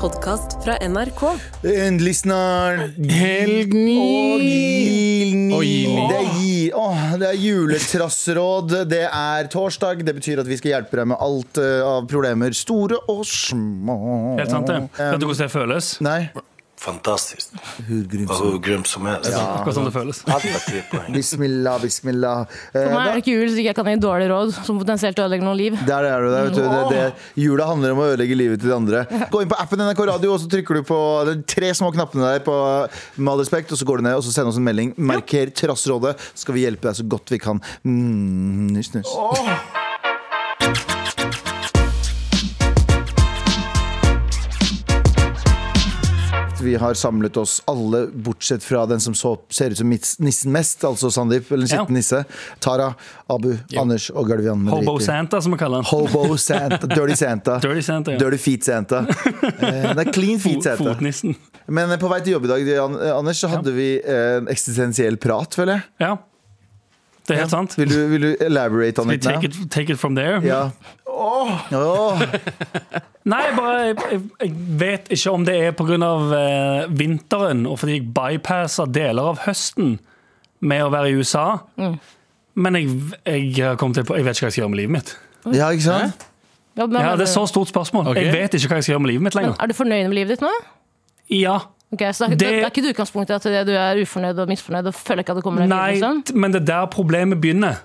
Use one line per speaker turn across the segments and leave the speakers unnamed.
podkast fra NRK.
Endelig snart. Og
Helgni!
Gilni.
Og Gilni.
Det, er gi- Åh, det er juletrassråd. Det er torsdag. Det betyr at vi skal hjelpe deg med alt eh, av problemer. Store og små. Eh,
Helt sant, det. Vet du hvordan det føles?
Nei.
Fantastisk. Og
Hudgrymsom.
hvor grym som helst.
Akkurat sånn det føles.
Alt er tre poeng.
Bismillah, bismillah. Eh,
For meg
da-
er det ikke jul, så ikke jeg kan gi dårlige råd som potensielt ødelegger noen liv.
Der er du der, vet du. Det, det, jula handler om å ødelegge livet til de andre. Gå inn på appen NRK Radio, og så trykker du på de tre små knappene der på eh, Med all respekt, og så går du ned og så sender oss en melding. Marker Trassrådet, så skal vi hjelpe deg så godt vi kan. Mm, nuss, nuss. Vi har samlet oss alle, bortsett fra den som så, ser ut som mis- nissen mest, altså Sandeep, eller
Ja.
skitten nisse. Tara, Abu, Anders og Galvian. med
Hobo
drit i.
Santa, som vi kaller den.
Hobo Santa, Dirty Santa.
Dirty Santa, ja.
Dirty Feet Santa. Eh, Det er clean feet
Fo-
Santa.
Fotnissen.
Men eh, på vei til jobb i dag, Jan- eh, Anders, så hadde vi eh, en eksistensiell prat, føler jeg.
Ja. Det er helt sant.
Vil du, vil du elaborate on
Vi
it now?
take it, take it from there.
Ja. Åh,
Nei, jeg bare, jeg, jeg- jeg vet ikke om det er pga. Eh, vinteren og fordi jeg bypasser deler av høsten med å være i USA.
Mm.
Men jeg, jeg, har kommet til, på- jeg vet ikke hva jeg skal gjøre med livet mitt.
ja, ikke sant?
Ja, men-
Ja, det er så stort spørsmål.
Ok.
Jeg vet ikke hva jeg skal gjøre med livet mitt
Men
lenger.
er du fornøyd med livet ditt nå?
Ja,
Ok, så det, er ikke-
Det-
det er ikke du utgangspunktet at det- du er ufornøyd og misfornøyd og føler ikke at det kommer deg
Nei,
videre? Liksom?
t- men det er der problemet begynner.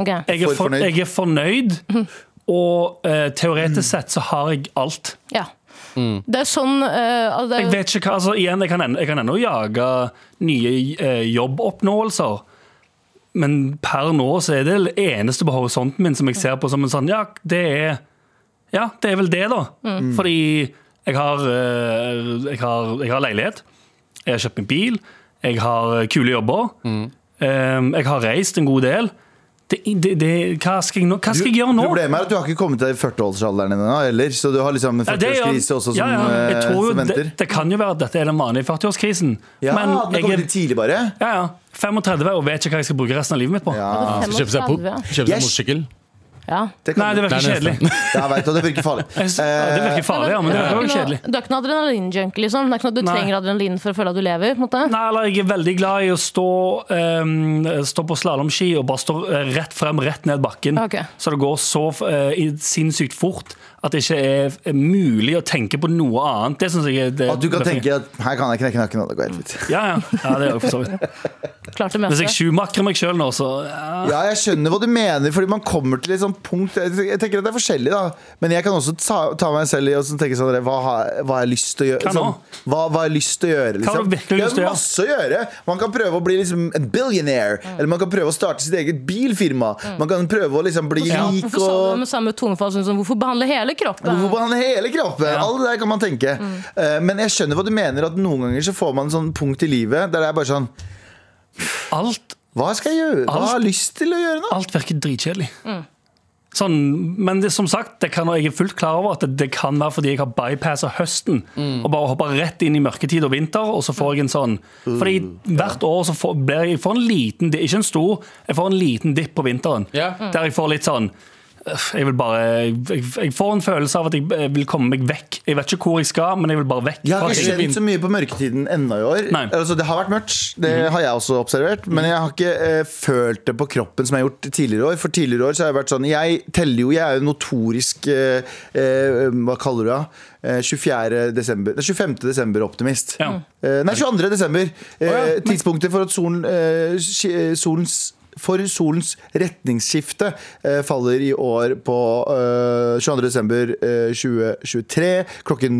Ok.
Jeg er,
For
for,
fornøyd. Mm.
jeg er fornøyd, og eh, teoretisk sett så har jeg alt.
Ja. Det er sånn eh, altså, det er,
Jeg vet ikke hva, altså igjen, jeg kan, en- jeg kan ennå jage nye eh, jobboppnåelser. Men per nå så er det det eneste på horisonten min som jeg ser på som en sånn Ja, det er, ja, det er vel det, da.
Mm.
Fordi jeg har, eh, jeg, har, jeg har leilighet, jeg har kjøpt meg bil, jeg har eh, kule jobber.
Mm.
eh, Jeg har reist en god del. Det, det, det, hva skal jeg, nå, hva skal jeg gjøre nå?
Problemet er at du har ikke kommet deg i 40-årsalderen ennå, heller. Så du har liksom en
Ja, det er jo-
40-årskrise også som,
ja, ja. Jeg
eh,
tror jo
som
det,
venter.
det kan jo være at dette er den vanlige 40-årskrisen.
Ja,
men
den har
jeg
kommet
er
litt tidlig, bare.
ja, ja, 35 og vet ikke hva jeg skal bruke resten av livet mitt på.
Ja,
Skal kjøpe seg, på,
35,
kjøpe seg
Yes.
motorsykkel.
Ja.
det kan
Nei, det
du.
virker
Det er
kjedelig.
nesten.
Ja, jeg vet, og det virker farlig. Eh,
Jeg sy- ja, Det virker farlig, ja, men det
Ja,
er jo
men
kjedelig.
Du er ikke noen adrenalinjunkie, liksom? Det er ikke noe at du
Nei.
trenger adrenalin for å føle at du lever? På en måte.
Nei, eller Jeg er veldig glad i å stå, eh, stå på slalåmski og bare stå eh, rett frem, rett ned bakken.
Ok.
Så det går så eh, i- sinnssykt fort at det ikke er er mulig å tenke på noe annet. Det synes jeg er det,
At du kan
det-
tenke at her kan jeg knekke nakken, og det går helt fint.
Ja, ja. ja det gjør jeg for så vidt.
Klart å møte
Hvis jeg sjumakrer meg sjøl nå, så eh,
Ja, jeg skjønner hva du mener, fordi man kommer til et sånt punkt Jeg tenker at det er forskjellig, da. Men jeg kan også ta, ta meg selv i og så tenke sånn Hva har hva har jeg lyst til å gjøre?
Hva nå?
Sånn, hva, hva har jeg lyst til å gjøre?
Hva har du
Liksom?
virkelig lyst til å
det
gjøre?
er masse å gjøre. Man kan prøve å bli liksom en billionaire.
Mm.
Eller man kan prøve å starte sitt eget bilfirma. Man kan prøve å liksom bli rik
Hvorfor sa du det
og
med samme tonefall som hvorfor behandle hele kroppen?
Hvorfor behandle hele kroppen? Alt det der kan man tenke.
Mm.
Eh, Men jeg skjønner hva du mener, at noen ganger så får man en sånn punkt i livet der det er bare sånn
alt
Hva skal jeg gjøre? Hva har jeg lyst til å gjøre nå?
Alt virker dritkjedelig.
Mm.
Sånn, men det, som sagt, det kan, og jeg er fullt klar over at det, det kan være fordi jeg har bypassa høsten.
Mm.
Og bare hoppa rett inn i mørketid og vinter, og så får jeg en sånn.
Mm.
Fordi hvert år så får, blir jeg, jeg får en liten di- ikke en stor, jeg får en liten dipp på vinteren.
Ja.
Der jeg får litt sånn «Øff, jeg vil bare jeg, jeg får en følelse av at jeg eh, vil komme meg vekk. Jeg vet ikke hvor jeg skal, men jeg vil bare vekk.
Jeg har
fra
ikke
ting.
kjent så mye på mørketiden ennå i år.
Nei. Mhm.
Altså, det har vært mørkt, det har jeg også observert. Men jeg har ikke eh, følt det på kroppen som jeg har gjort tidligere år. For tidligere år så har jeg vært sånn Jeg teller jo, jeg er jo notorisk eh, eh, Hva kaller du det? Eh, 24. desember nei, 25. desember-optimist.
Ja.
Eh, nei, 22. desember. Eh,
Å ja, men-
tidspunktet for at solen eh, sk- eh, solens for solens retningsskifte eh, faller i år på eh, 22. desember eh, 2023 klokken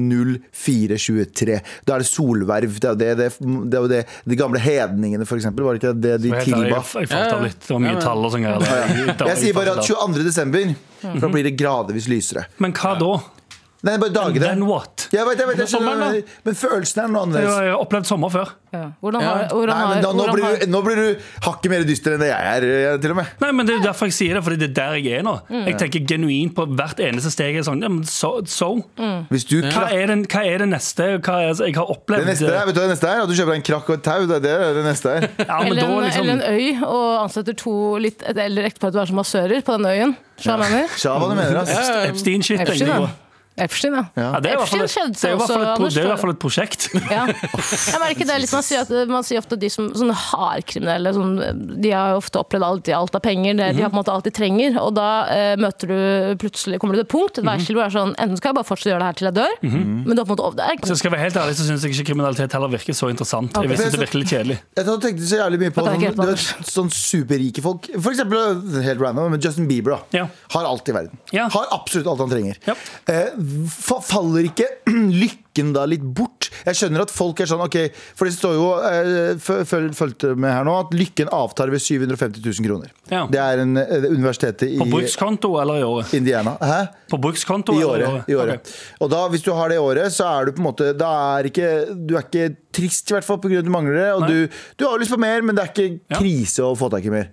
04.23. Da er det solverv. Det er jo det, det, det, er jo det de gamle hedningene, for eksempel. Var det ikke det de
Jeg, jeg,
tilba?
jeg, jeg falt av litt. Det var mye
Ja, ja.
tall og sånn greier. Jeg,
Jeg sier bare at 22. desember,
Mhm.
for da blir det gradvis lysere.
Men hva da?
Nei, bare
Then
dagene.
what?
Jeg vet, jeg vet, jeg
sommeren, da?
skjønner, men følelsen er noe
Jeg
annerledes.
har jo eh, opplevd sommer før.
Ja. Hvordan har,
Ja.
hvordan
Nei,
har,
men da, nå,
hvordan
blir
har
du, nå blir du hakket mer dyster enn det jeg er, eh, til og med.
Nei, men Det er jo derfor jeg sier det, fordi det er der jeg er nå.
Mm.
Jeg tenker genuint på hvert eneste steg. Jeg er sånn, ja, men so, so.
Mm.
Hvis du
Hva,
krakk
er det, hva er det neste hva er, jeg har opplevd?
det neste er, vet du hva det neste er? At du kjøper deg en krakk og et tau. Det er det, det neste er.
ja, men
eller,
da,
en,
liksom,
eller en øy og ansetter to litt et eldre ektepar til å være som massører på den øyen? Skjønner du hva jeg mener?
Sja, hva du mener, ass.
Epstein-shit. tenker
Epstein,
jeg
da.
på.
Epstein, ja.
Ja, det er i hvert fall et-
Epstein skjedde
det er i hvert fall
også,
et pro-
Anders,
det er i
tror
hvert fall et prosjekt.
Ja. Jeg merker det litt, man sier, at, man sier ofte at de som sånne hardkriminelle sånn, De har jo ofte opplevd alt, de har alt av penger, det,
Mhm.
de har på en måte alt de trenger. Og da eh, møter du plutselig kommer du til et punkt, et
Mhm.
veiskille hvor det er sånn Enten skal jeg bare fortsette å gjøre det her til jeg dør, men du har på en måte det er ikke
Så skal jeg være helt ærlig, så syns jeg ikke kriminalitet heller virker så interessant. Jeg synes det virker litt kjedelig.
Jeg tror jeg tenkte så jævlig mye på
Dette
sånn,
er ikke helt
du vet, sånn superrike folk. For eksempel eh, helt random, men Justin Bieber da,
Ja.
har alt i verden.
Ja.
Har absolutt alt han trenger.
Ja.
Eh, fa faller ikke lykken da litt bort? Jeg skjønner at folk er sånn ok, For det står jo, eh, føl- føl- fulgte med her nå, at lykken avtar ved 750 000 kroner.
Ja.
Det er en, eh, universitetet i
På brukskonto eller i året?
Indiana. Hæ?
På brukskonto
I
eller
året. I året.
Ok.
Og da, hvis du har det året, så er du på en måte Da er ikke, du er ikke trist, i hvert fall, pga. at du mangler det. Og
Nei.
du, du har jo lyst på mer, men det er ikke
Ja. Mhm.
krise å få tak i mer.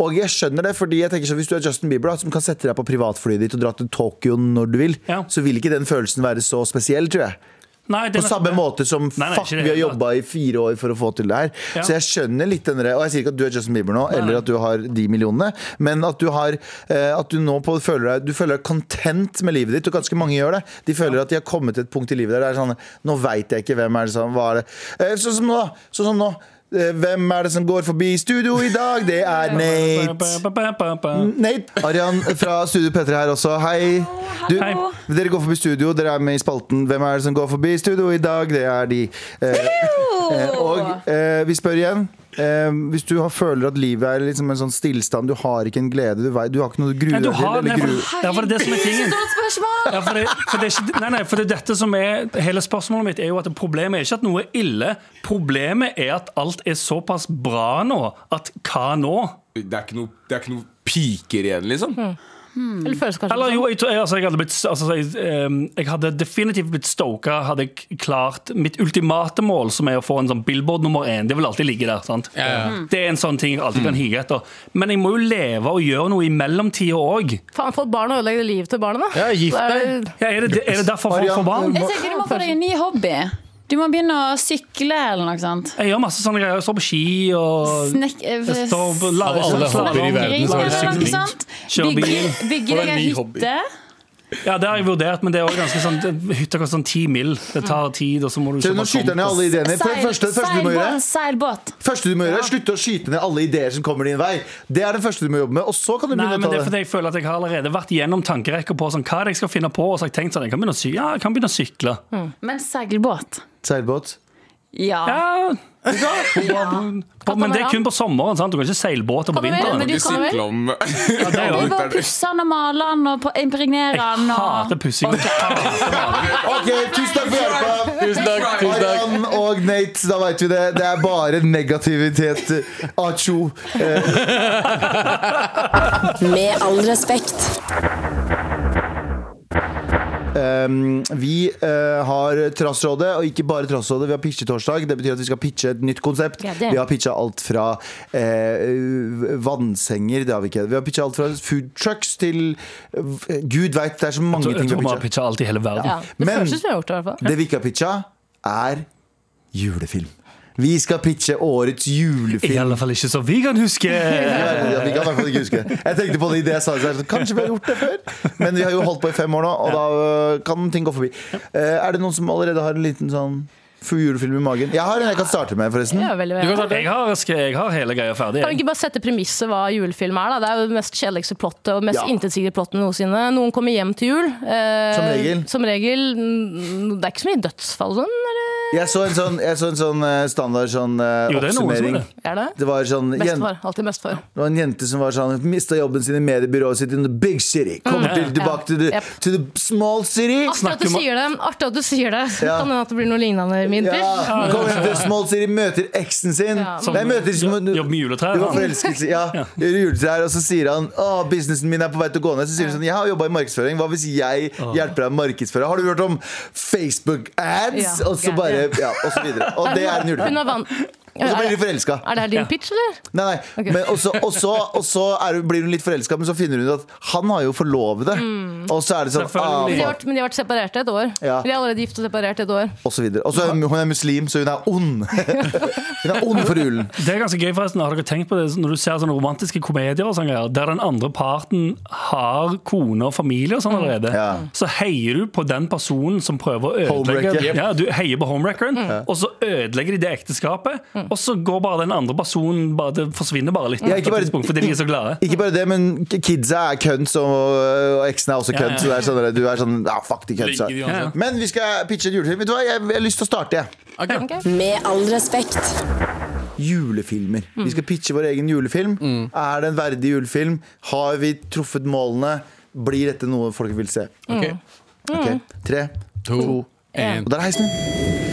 Og jeg skjønner det, fordi jeg tenker sånn hvis du er Justin Bieber, da, som kan sette deg på privatflyet ditt og dra til Tokyo når du vil,
Ja.
så vil ikke den følelsen være så spesiell, tror jeg.
Nei, det
På
er nettopp
samme
det.
måte som
Nei, nei,
fuck,
ikke det
vi har
hele tatt.
jobba i fire år for å få til det her.
Ja.
Så jeg skjønner litt den der- Og jeg sier ikke at du er Justin Bieber nå,
nei.
eller at du har de millionene, men at du har eh, At du nå på, føler deg Du føler deg content med livet ditt, og ganske mange gjør det. De føler at de har kommet til et punkt i livet der det er sånn Nå veit jeg ikke hvem er det som Hva er det Eh, Sånn som nå. Sånn som nå. Eh, Hvem er det som går forbi studio i dag? Det er Nate. Nate. Arian fra Studio P3 her også. Hei. Du,
Hei.
Dere går forbi studio, dere er med i spalten Hvem er det som går forbi studio i dag? Det er de. Eh, eh, og eh, vi spør igjen. Eh, hvis du har, føler at livet er liksom en sånn stillstand, du har ikke en glede, du, vei, du har ikke noe du gruer
Nei,
deg
du
til?
har, nei,
Eller
for,
gru,
ja, for det er det som er tingen.
Stort spørsmål!
Ja, for det, for det er ikke, nei, nei, for det er dette som er Hele spørsmålet mitt er jo at problemet er ikke at noe er ille. Problemet er at alt er såpass bra nå at hva nå?
Det er ikke noe, det er ikke noe piker igjen, liksom.
Eller føles kanskje
Eller
sånn.
jo, jeg, tror- jeg, altså, jeg hadde blitt altså, jeg, ehm, jeg hadde definitivt blitt stoka hadde jeg klart mitt ultimate mål, som er å få en sånn Billboard nummer én. Det vil alltid ligge der. sant?
ja.
Mm.
Mm.
Det er en sånn ting jeg alltid kan hige etter. Men jeg må jo leve og gjøre noe i mellomtida òg.
sånn, Faen, få et barn og ødelegge livet til barnet, da.
Ja, gift
Da er
deg.
det-
Ja, er, det- er det derfor folk får barn?
Arian,
Jeg tenker du må få deg en ny hobby. Du må begynne å sykle eller noe sånt.
Jeg gjør masse sånne greier. Jeg står på ski og
Snek... eh,
jeg står på-
Av alle hobbyer i verden, så er det
eller noe
sykling.
sånt.
Kjøre bil.
Bygge, bygge
Få
deg
deg en
ei
ny hobby.
hytte.
Ja, det har jeg vurdert, men det er også ganske sånn det- Hytta koster sånn ti mil. Det tar tid, og så må
Nå
du kjøpe sånn.
skyter jeg ned alle
tomt.
ideene. For det
Seil-
første, det første du må gjøre
Seilbåt. seilbåt.
Første du må gjøre, er Slutte å skyte ned alle ideer som kommer din vei. Det er det første du må jobbe med, og så kan du
Nei,
begynne
men det er
å ta
fordi
det.
jeg føler at jeg har allerede vært gjennom tankerekka på sånn, hva er det jeg skal finne på. Og så har jeg tenkt sånn, jeg kan begynne å, sy ja, jeg kan begynne å sykle.
Men seilbåt.
Seilbåt.
Ja.
Ja, på, men det er kun på sommeren. sant? Du kan ikke seilbåter på
Kan du vel-
vinteren.
men du
Du
kan vel?
sykler om
Ja, det er jo-
Vi må pusse den og male den og på- impregnere
Jeg
den.
hater
Og...
pussing.
OK, tusen takk for hjelpa.
Tusen takk. tusen takk
Arian og Nate, da veit vi det. Det er bare negativitet. Acho. eh.
Med all respekt.
Um, vi eh, har Trassrådet, og ikke bare Trassrådet. Vi har pitchetorsdag. Det betyr at vi skal pitche et nytt konsept.
Ja, det.
vi har pitcha alt fra eh, vannsenger Det har vi ikke. Vi har pitcha alt fra food trucks til eh, Gud veit, det er så mange
Jeg
ting
tror
vi
man
har
har
pitcha.
pitcha alt i hele verden.
Ja, det
Men-
føles som jeg har gjort det, i hvert fall.
Det vi ikke har pitcha, er julefilm. Vi skal pitche årets
I
julefilm.
alle fall ikke så vi kan huske.
Ja, vi kan i hvert fall ikke huske det. Jeg tenkte på det i det jeg sa det. så jeg er sånn, Kanskje vi har gjort det før? Men vi har jo holdt på i fem år nå, og da øh, kan ting gå forbi. Eh, Er det noen som allerede har en liten sånn full julefilm i magen? Jeg har en jeg kan starte med, forresten.
Ja, veldig,
Du
veldig.
kan starte.
Jeg har, skre- jeg har hele greia ferdig.
Kan vi
jeg.
ikke bare sette premisset hva julefilm er? da? Det er jo det mest kjedeligste plottet og mest
Ja.
intetsigende plottet noensinne. Noen kommer hjem til jul. eh,
Som regel.
Som regel. Mm, Det er ikke så mye dødsfall og sånn, eller?
Jeg så en sånn, jeg så en sånn eh, standard sånn eh,
Jo, det er noen som
oppsummering.
gjør det.
Er det?
Det var, sånn, jen,
Mest for. Alltid mest for.
det var en jente som var sånn mista jobben sin i mediebyrået sitt in the big city. Kommer
Mm.
til, tilbake til the,
Yep.
to the small city.
Artig at du
om-
sier det. Artig at du sier det.
Ja.
Kan hende at det blir noe lignende i min
Ja,
film.
kommer til the small city, møter eksen sin.
Ja.
Som-
Nei, møter
jo- jobber med juletrær,
Du var
han.
forelsket i ja, juletrær, og så sier han Å, businessen min er på vei til å gå ned. Så sier han sånn Jeg har jobba i markedsføring. Hva hvis jeg hjelper deg med å markedsføre? Har du hørt om Facebook ads?
Ja,
og så
gærent.
bare Ja, og så videre. Og det er en
Hun
julefilm.
har, van
Og så
Er
blir
det-
du forelska.
Er det her din
Ja.
pitch, eller?
Nei, nei. Men også, også, og så er du- blir hun litt forelska, men så finner hun ut at han har jo forlovede.
Mm.
Og så er det sånn ah,
Selvfølgelig.
Men de
fuck,
har vært, men de har vært separert et år.
Ja.
De er allerede gift og separert et år.
Og så videre. Og så er hun hun er muslim, så hun er ond. hun er ond for ulen.
Det er ganske gøy, forresten. Har dere tenkt på det når du ser sånne romantiske komedier og sånne greier, der den andre parten har kone og familie og sånn allerede,
Ja.
så heier du på den personen som prøver å ødelegge
Homewrecker. Mm.
Ja, du heier på homewreckeren, og så ødelegger de det ekteskapet, og så går bare den andre personen bare, Det forsvinner bare litt,
Ja,
på
ikke
et
bare-
tidspunkt, fordi de er så glade.
Ikke bare det, men kidsa er kønt, og, og eksen er også
Ja,
kønt. Så
ja.
det er sånn, at du er sånn ja, fuck de køntsa.
Ligger de uansett.
Men vi skal pitche en julefilm. Vet du hva, jeg, jeg har lyst til å starte, jeg.
Ok.
Med all respekt.
Julefilmer. Vi skal pitche vår egen julefilm. Er det en verdig julefilm? Har vi truffet målene? Blir dette noe folk vil se?
Ok.
Mm.
Ok, Tre,
To,
to,
en.
Og der er heisen min.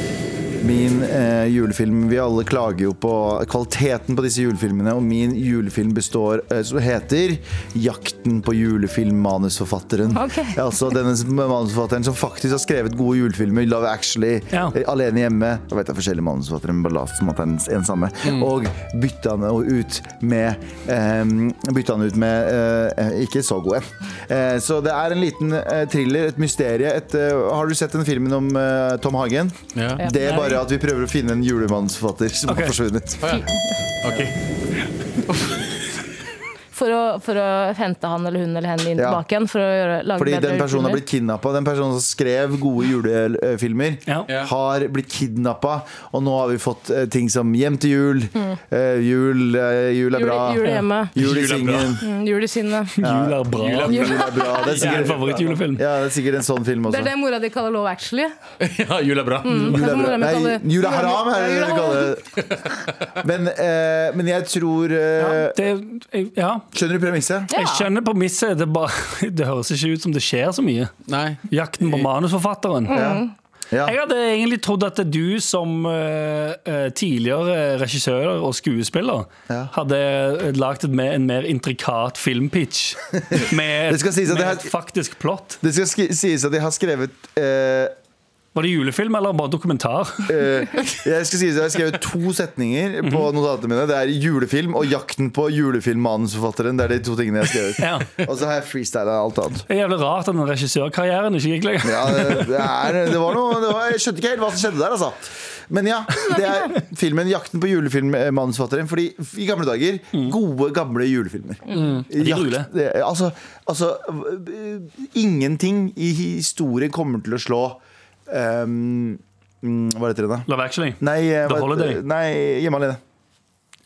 Min eh, julefilm Vi alle klager jo på kvaliteten på disse julefilmene, og min julefilm består eh, som heter 'Jakten på julefilm-manusforfatteren'.
Ok.
Ja, Altså denne som- manusforfatteren som faktisk har skrevet gode julefilmer. 'Love Actually',
Ja.
eh, 'Alene hjemme'. Jeg vet det er forskjellige manusforfattere, men bare lat som at det er den- en samme. Og bytta han jo ut med eh, Bytta han ut med eh, ikke så god en. Eh, så det er en liten eh, thriller, et mysterie. Et, eh, har du sett den filmen om eh, Tom Hagen?
Ja.
Det er bare at vi prøver å finne en julemannsforfatter som
Ok.
har forsvunnet.
Ok.
For å, for å hente han eller hun eller henne inn
Ja.
tilbake igjen. For å gjøre, lage
Fordi
bedre
den personen har
rutiner.
blitt kidnappa. Den personen som skrev gode julefilmer,
Ja.
Ja.
har blitt kidnappa. Og nå har vi fått eh, ting som Hjem til jul, eh, jul, eh, jul er
Jul,
bra,
jul hjemme.
jul i
Jul er bra.
singen,
Mm, Jul i sinnet.
Jul er bra.
Jul er
jul er bra. Det er
Det er en
sikkert,
favorittjulefilm.
ja, det er sikkert en sånn film
Det
også.
er det mora di kaller Love Actually.
Ja, jul er bra. Mm.
Jul
Det
er bra.
er mora mi
Nei,
kaller-
jul er
mora mi-
haram, er det det
Ja, jul
vi kaller det. Men, eh, men jeg tror eh,
Det, ja.
Skjønner du premisset?
Ja.
Jeg skjønner premisset, det, er bare- det høres ikke ut som det skjer så mye.
Nei.
Jakten på manusforfatteren.
Mm.
Ja.
Jeg hadde egentlig trodd at du som eh, eh, tidligere regissør og skuespiller
Ja.
hadde lagd en, mer- en mer intrikat filmpitch med,
Det skal sies at
med
det her-
et faktisk plott.
Det skal skri- sies at jeg har skrevet eh,
Var det julefilm eller bare dokumentar?
Eh, jeg skal si at jeg har skrevet to setninger på notatene mine. Det er julefilm og 'Jakten på julefilm-manusforfatteren'. Det er de to tingene jeg har skrevet.
Ja.
Og så har jeg freestyla alt annet.
Det er jævlig rart at den regissørkarrieren ikke gikk lenger.
Ja, det, det er, det var noe, det var, jeg skjønte ikke helt hva som skjedde der, altså. Men ja, det er filmen 'Jakten på julefilm-manusforfatteren'. Fordi i gamle dager, gode, gamle julefilmer.
gule.
Jakt, det, altså, altså eh, Ingenting i historien kommer til å slå ehm, mm, Hva heter det da?
Love Actually.
Nei, eh,
The
hva-
Holiday.
nei Hjemme alene.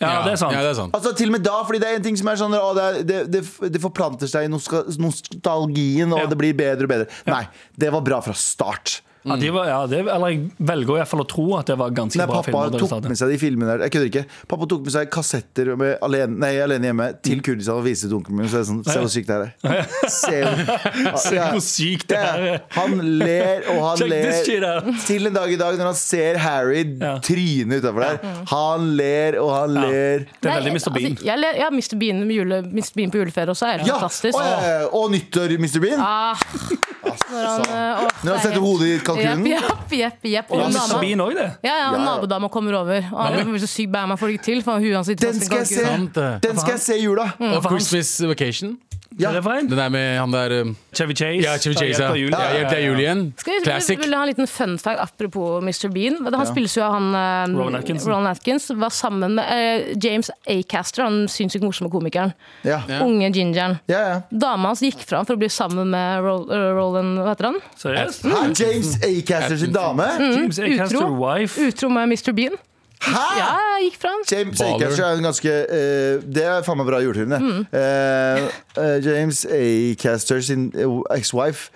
Ja, det er sant.
Ja, det er sant.
Altså Til og med da, fordi det er en ting som er sånn å, det, er- det, det, det forplanter seg i noska- nostalgien, og
Ja.
det blir bedre og bedre. Nei, det var bra fra start.
Ja, de var, ja, det, eller jeg velger i hvert fall å tro at det var ganske
Nei, pappa
bra filmer. da det
tok
startet.
med seg de filmene der. Jeg kødder ikke. Pappa tok med seg kassetter med alene, nei, alene hjemme til
Mm.
Kurdistan og viste til onkelen min. Så er det sånn, Se hvor sykt det her er. Se hvor, ja,
hvor sykt det her er.
Han ler og han
Check this shit
ler.
out.
Til en dag i dag, når han ser Harry
Ja.
tryne utafor der. Han ler og han ler.
Det er
Nei,
veldig Mr. Bean.
Altså, jeg, ler- ja, Mr. Bean, med jule, Mr. Bean på juleferie også er
Ja,
fantastisk.
og, eh, og nyttår, Mr. Bean. Altså,
Ah, når han, eh,
Når han
åh, det er
setter
helt-
hodet i kalkunen.
Jepp, jepp, jepp, jepp. Og
Ja,
en
Mr.
dame.
Bean også, det.
Ja, ja,
Ja,
og
ja.
nabodama kommer over. Og han blir så sykt bæ, man får det ikke til. For huet hans sitter
Den
fast i
skal jeg se.
kalkunen.
Sant, det.
Den skal jeg se i jula.
Mm.
Og Christmas Vacation.
Ja.
Er det for en?
Den der med han der um,
Chevy Chase.
Ja, Chevy Chase.
Ja, Hjelp
Ja,
av jul.
Ja,
Ja,
Hjelp
ja,
deg
ja.
jul ign.
Skal vi
Classic.
vil du ha en liten fun fact apropos Mr. Bean? Han spilles jo av han eh,
Rowan Atkinson.
Rowan Atkins. Var sammen med eh, James Acaster, han sinnssykt morsomme komikeren.
Ja. Ja,
Unge gingeren.
ja.
Dama hans gikk fra ham for å bli sammen med Ro- eh, Roland Hva heter han?
Seriøst?
Hæ, James Acaster sin dame?
Mm.
James Acaster
Utro.
Wife.
Utro med Mr. Bean. Ja,
Hæ?
Ah!
gikk fra han.
James
Baller.
Acaster er en ganske eh, Det er faen meg bra julefilm, det.
Mm.
Eh, eh, James Acaster sin eh, ex-wife,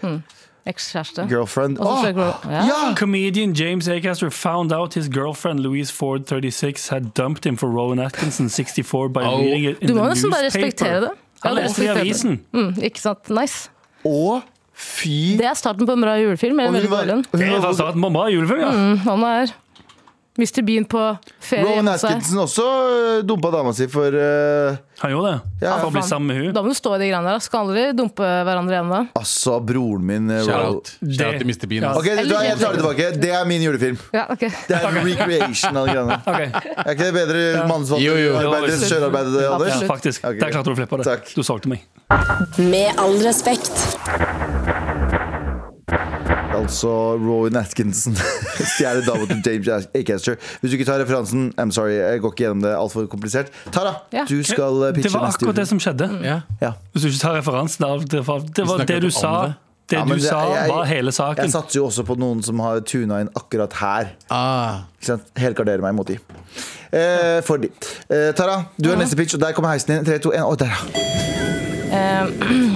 Ekskjæreste.
girlfriend
Mm. Og så
Åh,
søker hun- ja.
Ja!
Comedian James Acaster found out his girlfriend Louise Ford, 36, had dumped him for Rowan Atkinson, 64, by
Oh.
reading it in
Du må
the
nesten bare
newspaper.
respektere det.
Han
Ja,
leste det i
respekterer
avisen.
det. Mm, ikke sant? Nice.
Og fy
Det er starten på en bra julefilm. Eller
Og hun
veldig
var-
dårlig en.
hun
Det er
var-
Mm.
fra starten på en bra julefilm, ja.
Han er Mr. Bean på ferie
Rowan
hjemme hos seg.
Atkinson også øh, dumpa dama si for øh,
Han gjorde det.
Ja,
For å bli
faen.
sammen med hun.
Da må du stå i de greiene der. da. Skal aldri dumpe hverandre igjen da.
Altså, broren min øh,
Shout
Rowan.
out. Shout out til Mr. Bean.
Ja.
ass.
Ok, vet du hva, jeg tar det tilbake. Det er min julefilm.
Ja, ok.
Det er en recreation av de greiene.
Ok,
Er ikke det bedre
Jo, jo.
mannsvalgtarbeidet enn kjørearbeidet,
ja,
Anders?
faktisk.
Ok,
Der klarte du å flippe det.
Takk.
Du solgte meg.
Med all respekt.
Altså Rowan Atkinson stjeler dama til James Acaster. Hvis du ikke tar referansen, I'm sorry, jeg går ikke gjennom det altfor komplisert. Tara,
Ja.
du skal øh,
Det
pitche
var
neste
akkurat det
julefilm.
som skjedde.
Mm.
Ja.
Ja.
Hvis du ikke tar referansen av det, var- det var
snakket
det du
om
sa.
det.
Det
Ja, men
du
det-
sa,
jeg-
var hele
Jeg
saken.
satser jo også på noen som har tuna inn akkurat her.
Ah.
Ikke sant? Helgardere meg mot de. Eh, for de. Eh, Tara, du er neste pitch, og der kommer heisen din. 3, 2, 1. Å, der, ja.
Eh,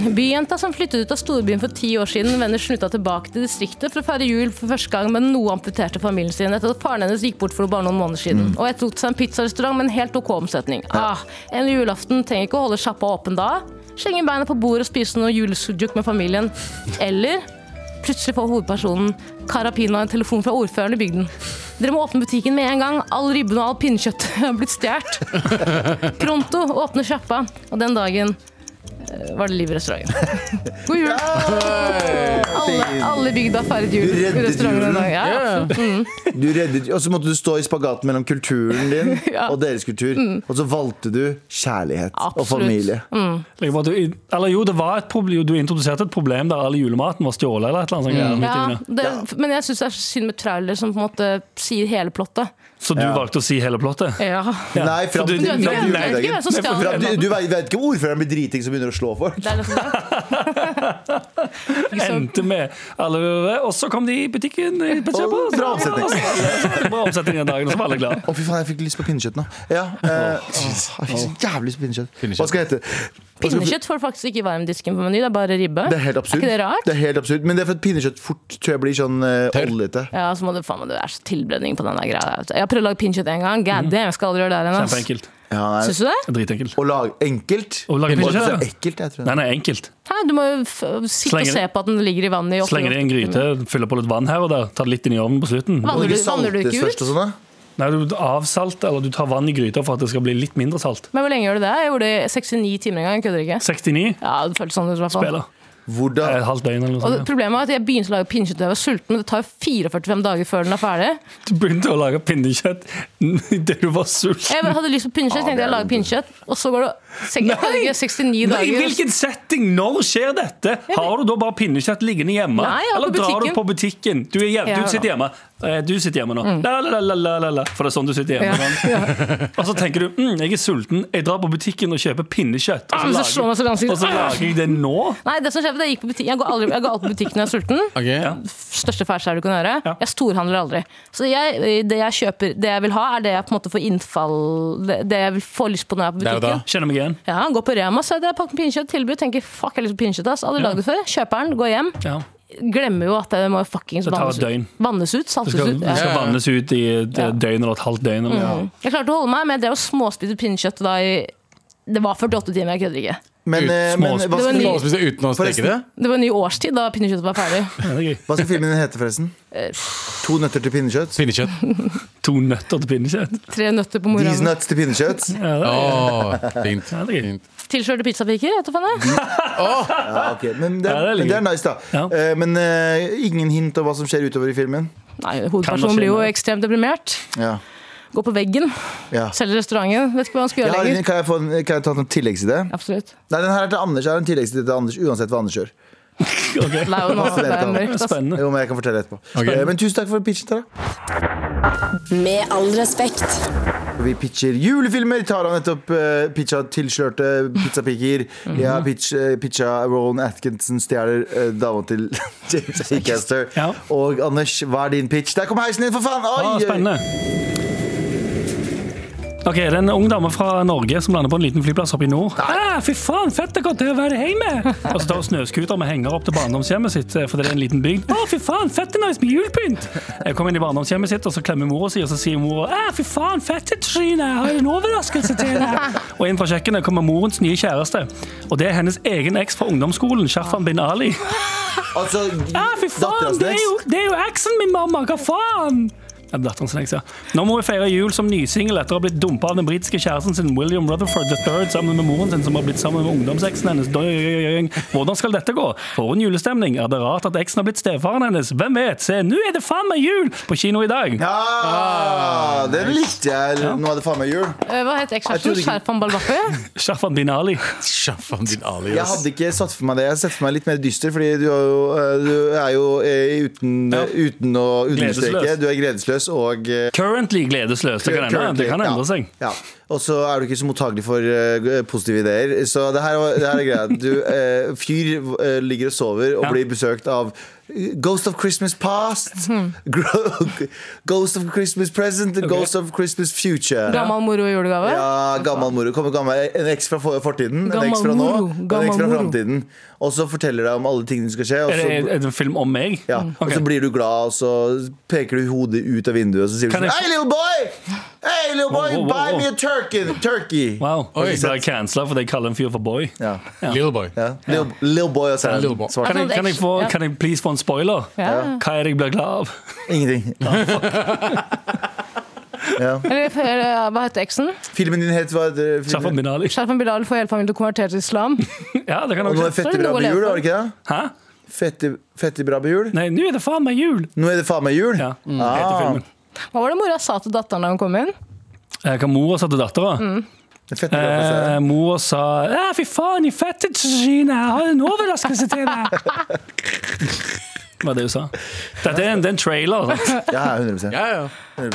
Byjenta som flyttet ut av storbyen for ti år siden, vender snuta tilbake til distriktet for å feire jul for første gang med den noe amputerte familien sin etter at faren hennes gikk bort for bare noen måneder siden. Og etterlot seg en pizzarestaurant med en helt OK omsetning. Ah, en julaften trenger ikke å holde sjappa åpen da. Slenge beina på bordet og spise noe julesujuk med familien. Eller plutselig får hovedpersonen Carapina en telefon fra ordføreren i bygden. Dere må åpne butikken med en gang. All ribben og all pinnekjøtt har blitt stjålet. Pronto åpner sjappa, og den dagen eh, var det liv i restauranten. God jul! Alle, alle i bygda feiret jul
Du
i
reddet
restauranten den
julen.
dagen. Ja, absolutt.
Du reddet, og så måtte du stå i spagaten mellom kulturen din
Ja.
og deres kultur. Og så valgte du kjærlighet og
Absolutt.
familie.
Like, bare Du, eller jo, det var et problem, du introduserte et problem der all julematen var stjålet eller et
Mm.
eller annet. sånt greier, midt i
Ja,
det.
det, men jeg syns det er så synd med trailer som på en måte sier hele plottet.
Så du valgte å si hele plottet?
Ja.
Ja.
Nei, fram
For
til
du-
Men du vet ikke,
Nei,
du vet ikke
Nei,
hvem som
for-
stjal
Fram
den
til- Du
maten.
vet vet ikke ordføreren blir driting som begynner å slå folk.
Det er liksom det.
Endte med alle, Og så kom de i butikken. i Petshop,
Og
så-
bra omsetning.
og så var alle- altså, Bra omsetning den dagen, og så var alle glade.
Å, fy faen, jeg fikk lyst på pinnekjøtt nå. Ja, eh, jeg fikk så jævlig lyst på pinnekjøtt. Hva skal jeg hete? Hva skal-
Pinnekjøtt får du faktisk ikke i varmdisken på meny, det er bare ribbe.
Det er helt absurd.
ikke det rart?
Det er helt absurd. Men det er for at pinnekjøtt fort tror jeg blir sånn uh, oljete.
Ja, så må du faen meg det er så tilbredning på den der greia. der. Jeg har prøvd å lage pinnekjøtt en gang.
Mhm.
God damn, jeg skal aldri gjøre det her igjen. ass.
Kjempeenkelt.
Ja, nei.
Syns du det?
Dritenkelt.
Å lage enkelt.
Å lage
Bare så
pinnekjøtt? ja.
ekkelt, jeg tror.
Nei, nei, enkelt.
Hæ, du må jo f- sitte
Slenger
og se
det-
på at den ligger i vannet i åtte
Slenger det i en gryte, fyller på litt vann her og der, tar det litt inn i ovnen på slutten.
Vann.
Må
Vanner
det
du-
ikke
vanner du
saltes
ikke ut?
først og sånn, da?
Nei, du avsalter, eller du tar vann i gryta for at det skal bli litt mindre salt.
Men hvor lenge gjør du det? Jeg gjorde det i 69 timer en gang, jeg kødder ikke.
69
Ja, det føltes sånn ut i hvert fall.
spiller.
Hvordan
Et halvt døgn eller noe
Og
sånt. ja.
problemet var at jeg begynte å lage pinnekjøtt da jeg var sulten, men det tar jo 44 dager før den er ferdig.
Du begynte å lage pinnekjøtt idet du var sulten.
Jeg hadde lyst på
Ah,
pinnekjøtt, tenkte jeg lager pinnekjøtt, og så går det sek- jeg kødder ikke, 69
Nei, I
dager.
hvilken setting? Når skjer dette? Har du da bare pinnekjøtt liggende hjemme?
Nei, jeg var
Eller
på
drar du
butikken.
på butikken? Du, er hjem,
Ja, Mm.
du sitter hjemme. Eh, Du sitter hjemme nå. La, la, la, la, la, la. For det er sånn du sitter hjemme.
Ja,
sånn. Og så tenker du mm, jeg er sulten, jeg drar på butikken og kjøper pinnekjøtt.
Ah, men så slår man seg i
og
ansiktet. Ah.
så lager jeg det nå?
Nei, det som skjer, det er at jeg gikk på butikken. Jeg går, aldri, jeg går alltid på butikken når jeg er sulten.
Ok.
største feilskjær du kan gjøre.
Ja.
Jeg storhandler aldri. Så jeg, det jeg kjøper, det jeg vil ha, er det jeg på en måte får innfall Det, det jeg vil få lyst på når jeg er på
Der og da.
butikken.
Kjenner meg igjen.
Ja, Går på Rema, så er det jeg pakker pinnekjøtt, tilbud, tenker fuck, jeg har lyst på pinnekjøtt. ass. Aldri
Ja.
lagd det før. Kjøper den, går hjem.
Ja.
Glemmer jo at det må jo fuckings
Det tar
vannes
et
ut.
døgn.
Vannes ut,
Det
saltes
skal,
ut.
det
Ja.
skal vannes ut i et
Ja. Mm.
døgn eller et halvt døgn. Eller. noe.
Jeg klarte å holde meg, men jeg drev og småspiste pinnekjøtt da i Det var 48 timer, jeg kødder ikke.
Men,
Ut,
eh, men
småsp-
hva,
Det var
skal,
ny-
Småspise uten å steke det?
Forresten.
Det var en ny årstid da pinnekjøttet var ferdig.
Ja, det er gøy.
hva skal filmen din hete, forresten?
Eh,
To nøtter til pinnekjøtt?
Pinnekjøtt.
To nøtter til pinnekjøtt.
Tre nøtter på
These
morgenen.
nuts til pinnekjøtt?
Ja, det er-
Åh, fint.
Ja, det er gøy.
fint.
Tilskjørte pizzapiker, vet du faen
Mm.
jeg.
Ja, ok. Men det,
Ja, det er
er, men
litt
det er
gøy.
nice, da.
Ja.
Eh, men eh, ingen hint om hva som skjer utover i filmen?
Nei, hovedpersonen blir jo ekstremt deprimert.
Ja.
Går på veggen.
ja.
Selger restauranten. Vet ikke hva han skal
Jeg
gjøre
har, en-
lenger.
kan, jeg få en, kan jeg ta en tilleggsidé?
Absolutt.
Nei, den her er til Anders. Jeg har en tilleggsidé til Anders uansett hva Anders gjør.
Ok.
Det er jo noe, det er mørkt, ass.
Spennende.
Jo, men jeg kan fortelle etterpå.
Ok.
Eh, Men tusen takk for pitchen, Tara.
Med all respekt.
Vi pitcher julefilmer. Tara har nettopp uh, pitcha tilslørte pizzapiker.
Mhm.
Jeg har pitch, eh, pitcha Rowan Atkinson stjeler eh, dama til James Acaster.
Ja.
Og Anders, hva er din pitch? Der kom heisen din, for faen! Oi!
Ah, spennende. Ok, Det er en ung dame fra Norge som lander på en liten flyplass oppe i nord. Ah, fy faen, fett det kommer til å være hjemme! Og så tar hun snøskuter med henger opp til barndomshjemmet sitt. eh, Fordi det er en liten bygd. Ah, fy faen, fett det er nice med julpynt! Jeg kommer inn i barndomshjemmet sitt, og så klemmer mora si, og så sier mora ah, fy faen, fette tryne, jeg har en overraskelse til deg! Og inn fra kjøkkenet kommer morens nye kjæreste. Og det er hennes egen eks fra ungdomsskolen, Sharfan bin Ali.
Altså,
Ja, fy
datteren
faen, det er,
hans.
jo, det er jo eksen min, mamma! Hva faen? Ja, datteren sin, jeg ser. Nå må hun feire jul som nysingel etter å ha blitt dumpa av den britiske kjæresten sin William Rutherford III sammen med moren sin, som har blitt sammen med ungdomseksen hennes. Døy, døy, døy, døy. Hvordan skal dette gå? For en julestemning. Er det rart at eksen har blitt stefaren hennes? Hvem vet? Se, nå er det faen meg jul på kino i dag!
Ah, den likte jeg. Nå er det faen meg jul.
Eh, Hva heter
Jeg trodde
ekskjæresten?
ikke-
Sherfan Balbafi?
Shafan bin Ali.
Sjaffan din alias.
Jeg hadde ikke satt for meg det. Jeg har sett for meg litt mer dyster, fordi du er jo, eh, du er jo eh, uten,
Ja.
uten å understreke.
Gledesløs.
Du er gledesløs og eh,
Currently gledesløs. Det kan endre, det kan
currently,
endre seg.
Ja. ja. Og så er du ikke så mottagelig for eh, positive ideer. Så det her, var- det her er greia. Du, eh, fyr eh, ligger og sover og
Ja.
blir besøkt av eh, Ghost of Christmas past,
Mhm.
Gro- Ghost of Christmas present, and Ghost of Christmas future.
Gammel moro i julegave?
Ja, gammel moro. Kommer gammel, en eks fra for- fortiden, en
Gammel
eks fra nå,
moro,
og en
gammel
eks fra
moro.
framtiden. Og så forteller deg om alle tingene som skal skje. Og
Er det,
så,
er det en film om meg?
ja, og
Mm. Ok.
så blir du glad, og så peker du hodet ut av vinduet, og så sier du
Kan
sånn
jeg-
Hei, little boy! Hey, little boy,
Wow, wow, wow,
buy
wow.
me a turkey! turkey.
Wow.
Oi.
Ble jeg cancela fordi jeg kaller en fyr for boy?
Ja.
Little boy.
Ja. Little, little boy og så er
Little boy.
han svart.
Kan jeg, kan, jeg få,
Ja.
kan jeg please få en spoiler?
Ja.
Hva er det jeg blir glad av?
Ingenting. Ja, fuck. Ja.
Eller eh, hva heter eksen?
Filmen din het hva? er det-
Shafan
Filmen?
bin Ali.
Sherfan Bilal får hjelp av til å konvertere til islam.
Ja, det kan
Og nå
også.
er Fette
det
bra
noe å
med
leve
jul,
for.
var det ikke det?
Hæ?
Fette, fette bra med jul?
Nei, nå er det faen meg jul!
Nå er det faen meg jul! Ah,
Ja,
Mm.
heter
Ah.
filmen.
Hva var det mora sa til datteren da hun kom inn?
Eh, Hva mora sa til dattera?
Mm.
Fette bra for seg.
Eh, mora sa ja, 'fy faen, i fette tagine, jeg har en overraskelse til deg'. Det var det hun sa. Dette er en, det er en trailer altså. sant?
Ja, 100
Ja, ja.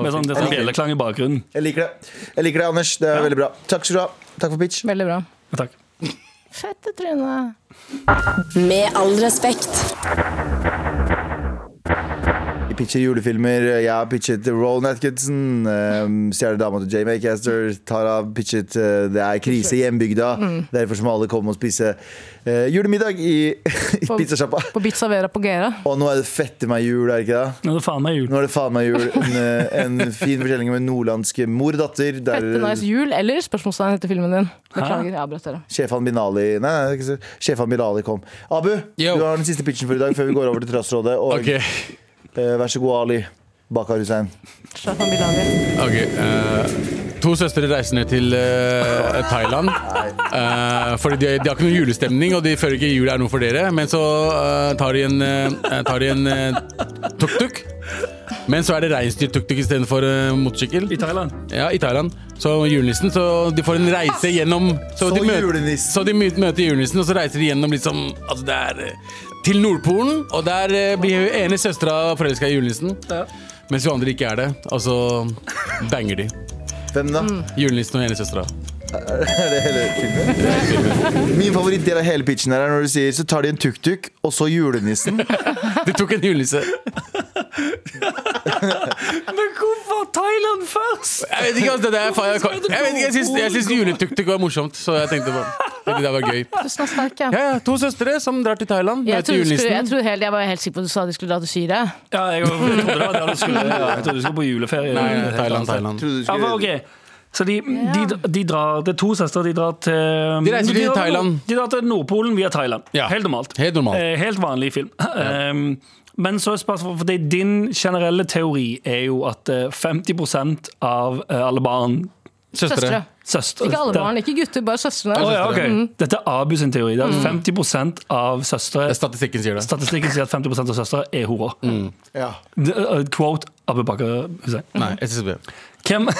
med sånn, det er sånn bjelleklang i bakgrunnen.
Jeg liker det, Jeg liker det, Anders. Det er veldig bra. Takk skal du ha. Takk for pitch.
Veldig bra.
Ja, Takk.
Fette tryne.
Med all respekt.
Vi pitcher julefilmer. Jeg har pitchet Roland Atkinson. ehm, Stjernedama til Jamie Caster. Tara har pitchet eh, Det er krise i hjembygda. Derfor må alle komme og spise eh, julemiddag i, i
På-
pizzasjappa.
På Pizza Vera på Gera.
Og nå er det fette meg jul, er det ikke det?
Nå er det faen meg jul.
Nå er det faen meg jul. En, eh, en fin fortelling om en nordlandsk mor og datter. Der
Fette nice jul, eller spørsmålstegn etter filmen din. Beklager, jeg avbrøt dere.
Sjefan Binali Nei, nei ikke, så- Sjefan Binali kom. Abu,
Yo.
du har den siste pitchen for i dag før vi går over til Trassrådet. Og
Ok.
Eh, Vær så god, Ali Bakar Hussein.
Sherfan Bilal.
ok eh, to søstre reiser ned til eh, Thailand. Eh, fordi de, de har ikke noen julestemning, og de føler ikke jula er noe for dere. Men så eh, tar de en, eh, tar de en eh, tuk-tuk. Men så er det reinsdyr-tuk-tuk istedenfor uh, motorsykkel.
I Thailand.
Ja, i Thailand. Så julenissen, så de får en reise gjennom
Ah!
Så,
Så
de, møter,
julenissen.
så de mø- møter julenissen, og så reiser de gjennom liksom Altså, det er eh, til Nordpolen, og der eh, blir hun ene søstera forelska i julenissen. Mens hun andre ikke er det. Og så banger de.
Hvem da?
Julenissen og ene søstera.
Er det hele filmen? Min favorittdel av hele pitchen her er når du sier så tar de en tuk-tuk, og så julenissen.
De tok en julenisse.
Men hvorfor Thailand først?
Jeg vet ikke, altså, det er, faen, jeg, jeg, vet ikke, jeg, syns, jeg syns juletuk-tuk var morsomt, så jeg tenkte på det der var gøy.
Du er så sterk, ja.
Ja, ja, to søstre som drar til Thailand,
Jeg,
møter
trodde du skulle, jeg,
julenissen.
trodde helt, jeg var helt sikker på at du sa de skulle dra til Syria.
Ja, jeg trodde det var der du skulle. Jeg trodde du skulle på juleferie.
Nei, Thailand, Thailand.
Trodde du
Ja, men
skulle-
ok så de, de, de drar, Det er to søstre. De drar til
De reiser til
drar
Thailand.
De drar til Nordpolen via Thailand.
Ja.
Helt normalt.
Helt normalt.
Eh, helt vanlig film. Ehm, men så er spørsmålet For det, din generelle teori er jo at eh, 50 av eh, alle barn
Søstre.
Søstre.
Søstre
Ikke alle
det-
barn, Mm. ikke gutter, bare søstrene.
Å, ja, ok. Dette er Abu sin teori. Det er
Mm.
at 50 av søstre
Det er Mm. Statistikken sier det.
Statistikken sier at 50 av søstre er horer.
Ja.
Det- eh, Quote Abu Bakar Hussein.
Nei, SSB.
Hvem,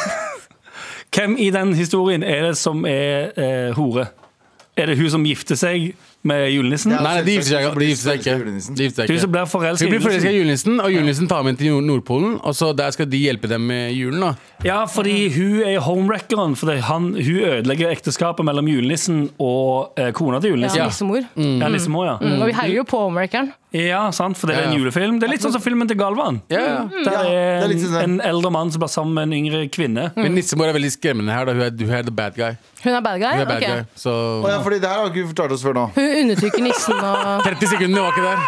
hvem i den historien er det som er eh, hore? Er det hun som gifter seg med julenissen?
Ja.
Nei, nei, de gifter seg, de gifter seg
Forelsker i julenissen.
ikke. De gifter
Hun
seg
som
ikke.
blir forelska
Hun blir forelska i julenissen, og julenissen tar med henne til Nord- Nordpolen. Og så Der skal de hjelpe dem med julen. da
Ja, fordi hun er homewreckeren. Fordi han, hun ødelegger ekteskapet mellom julenissen og eh, kona til
Ja, Mm.
julenissen. Ja. Mm.
Nissemor.
Lissemor, ja.
Og vi heier jo på Homewreckeren.
ja, sant, for det er en
Ja.
julefilm. Det er litt sånn som filmen til Galvan.
Ja,
Der
Ja,
er
det er
en,
litt sånn der.
en eldre mann som blir sammen med en yngre kvinne.
Men nissemor er veldig skremmende her. da Hun er, hun er the bad guy.
Hun er bad guy?
Hun er bad
Ok.
guy Så
Å ja, fordi det her har ikke du fortalt oss før nå.
Hun undertrykker nissen og
30 sekunder var ikke der.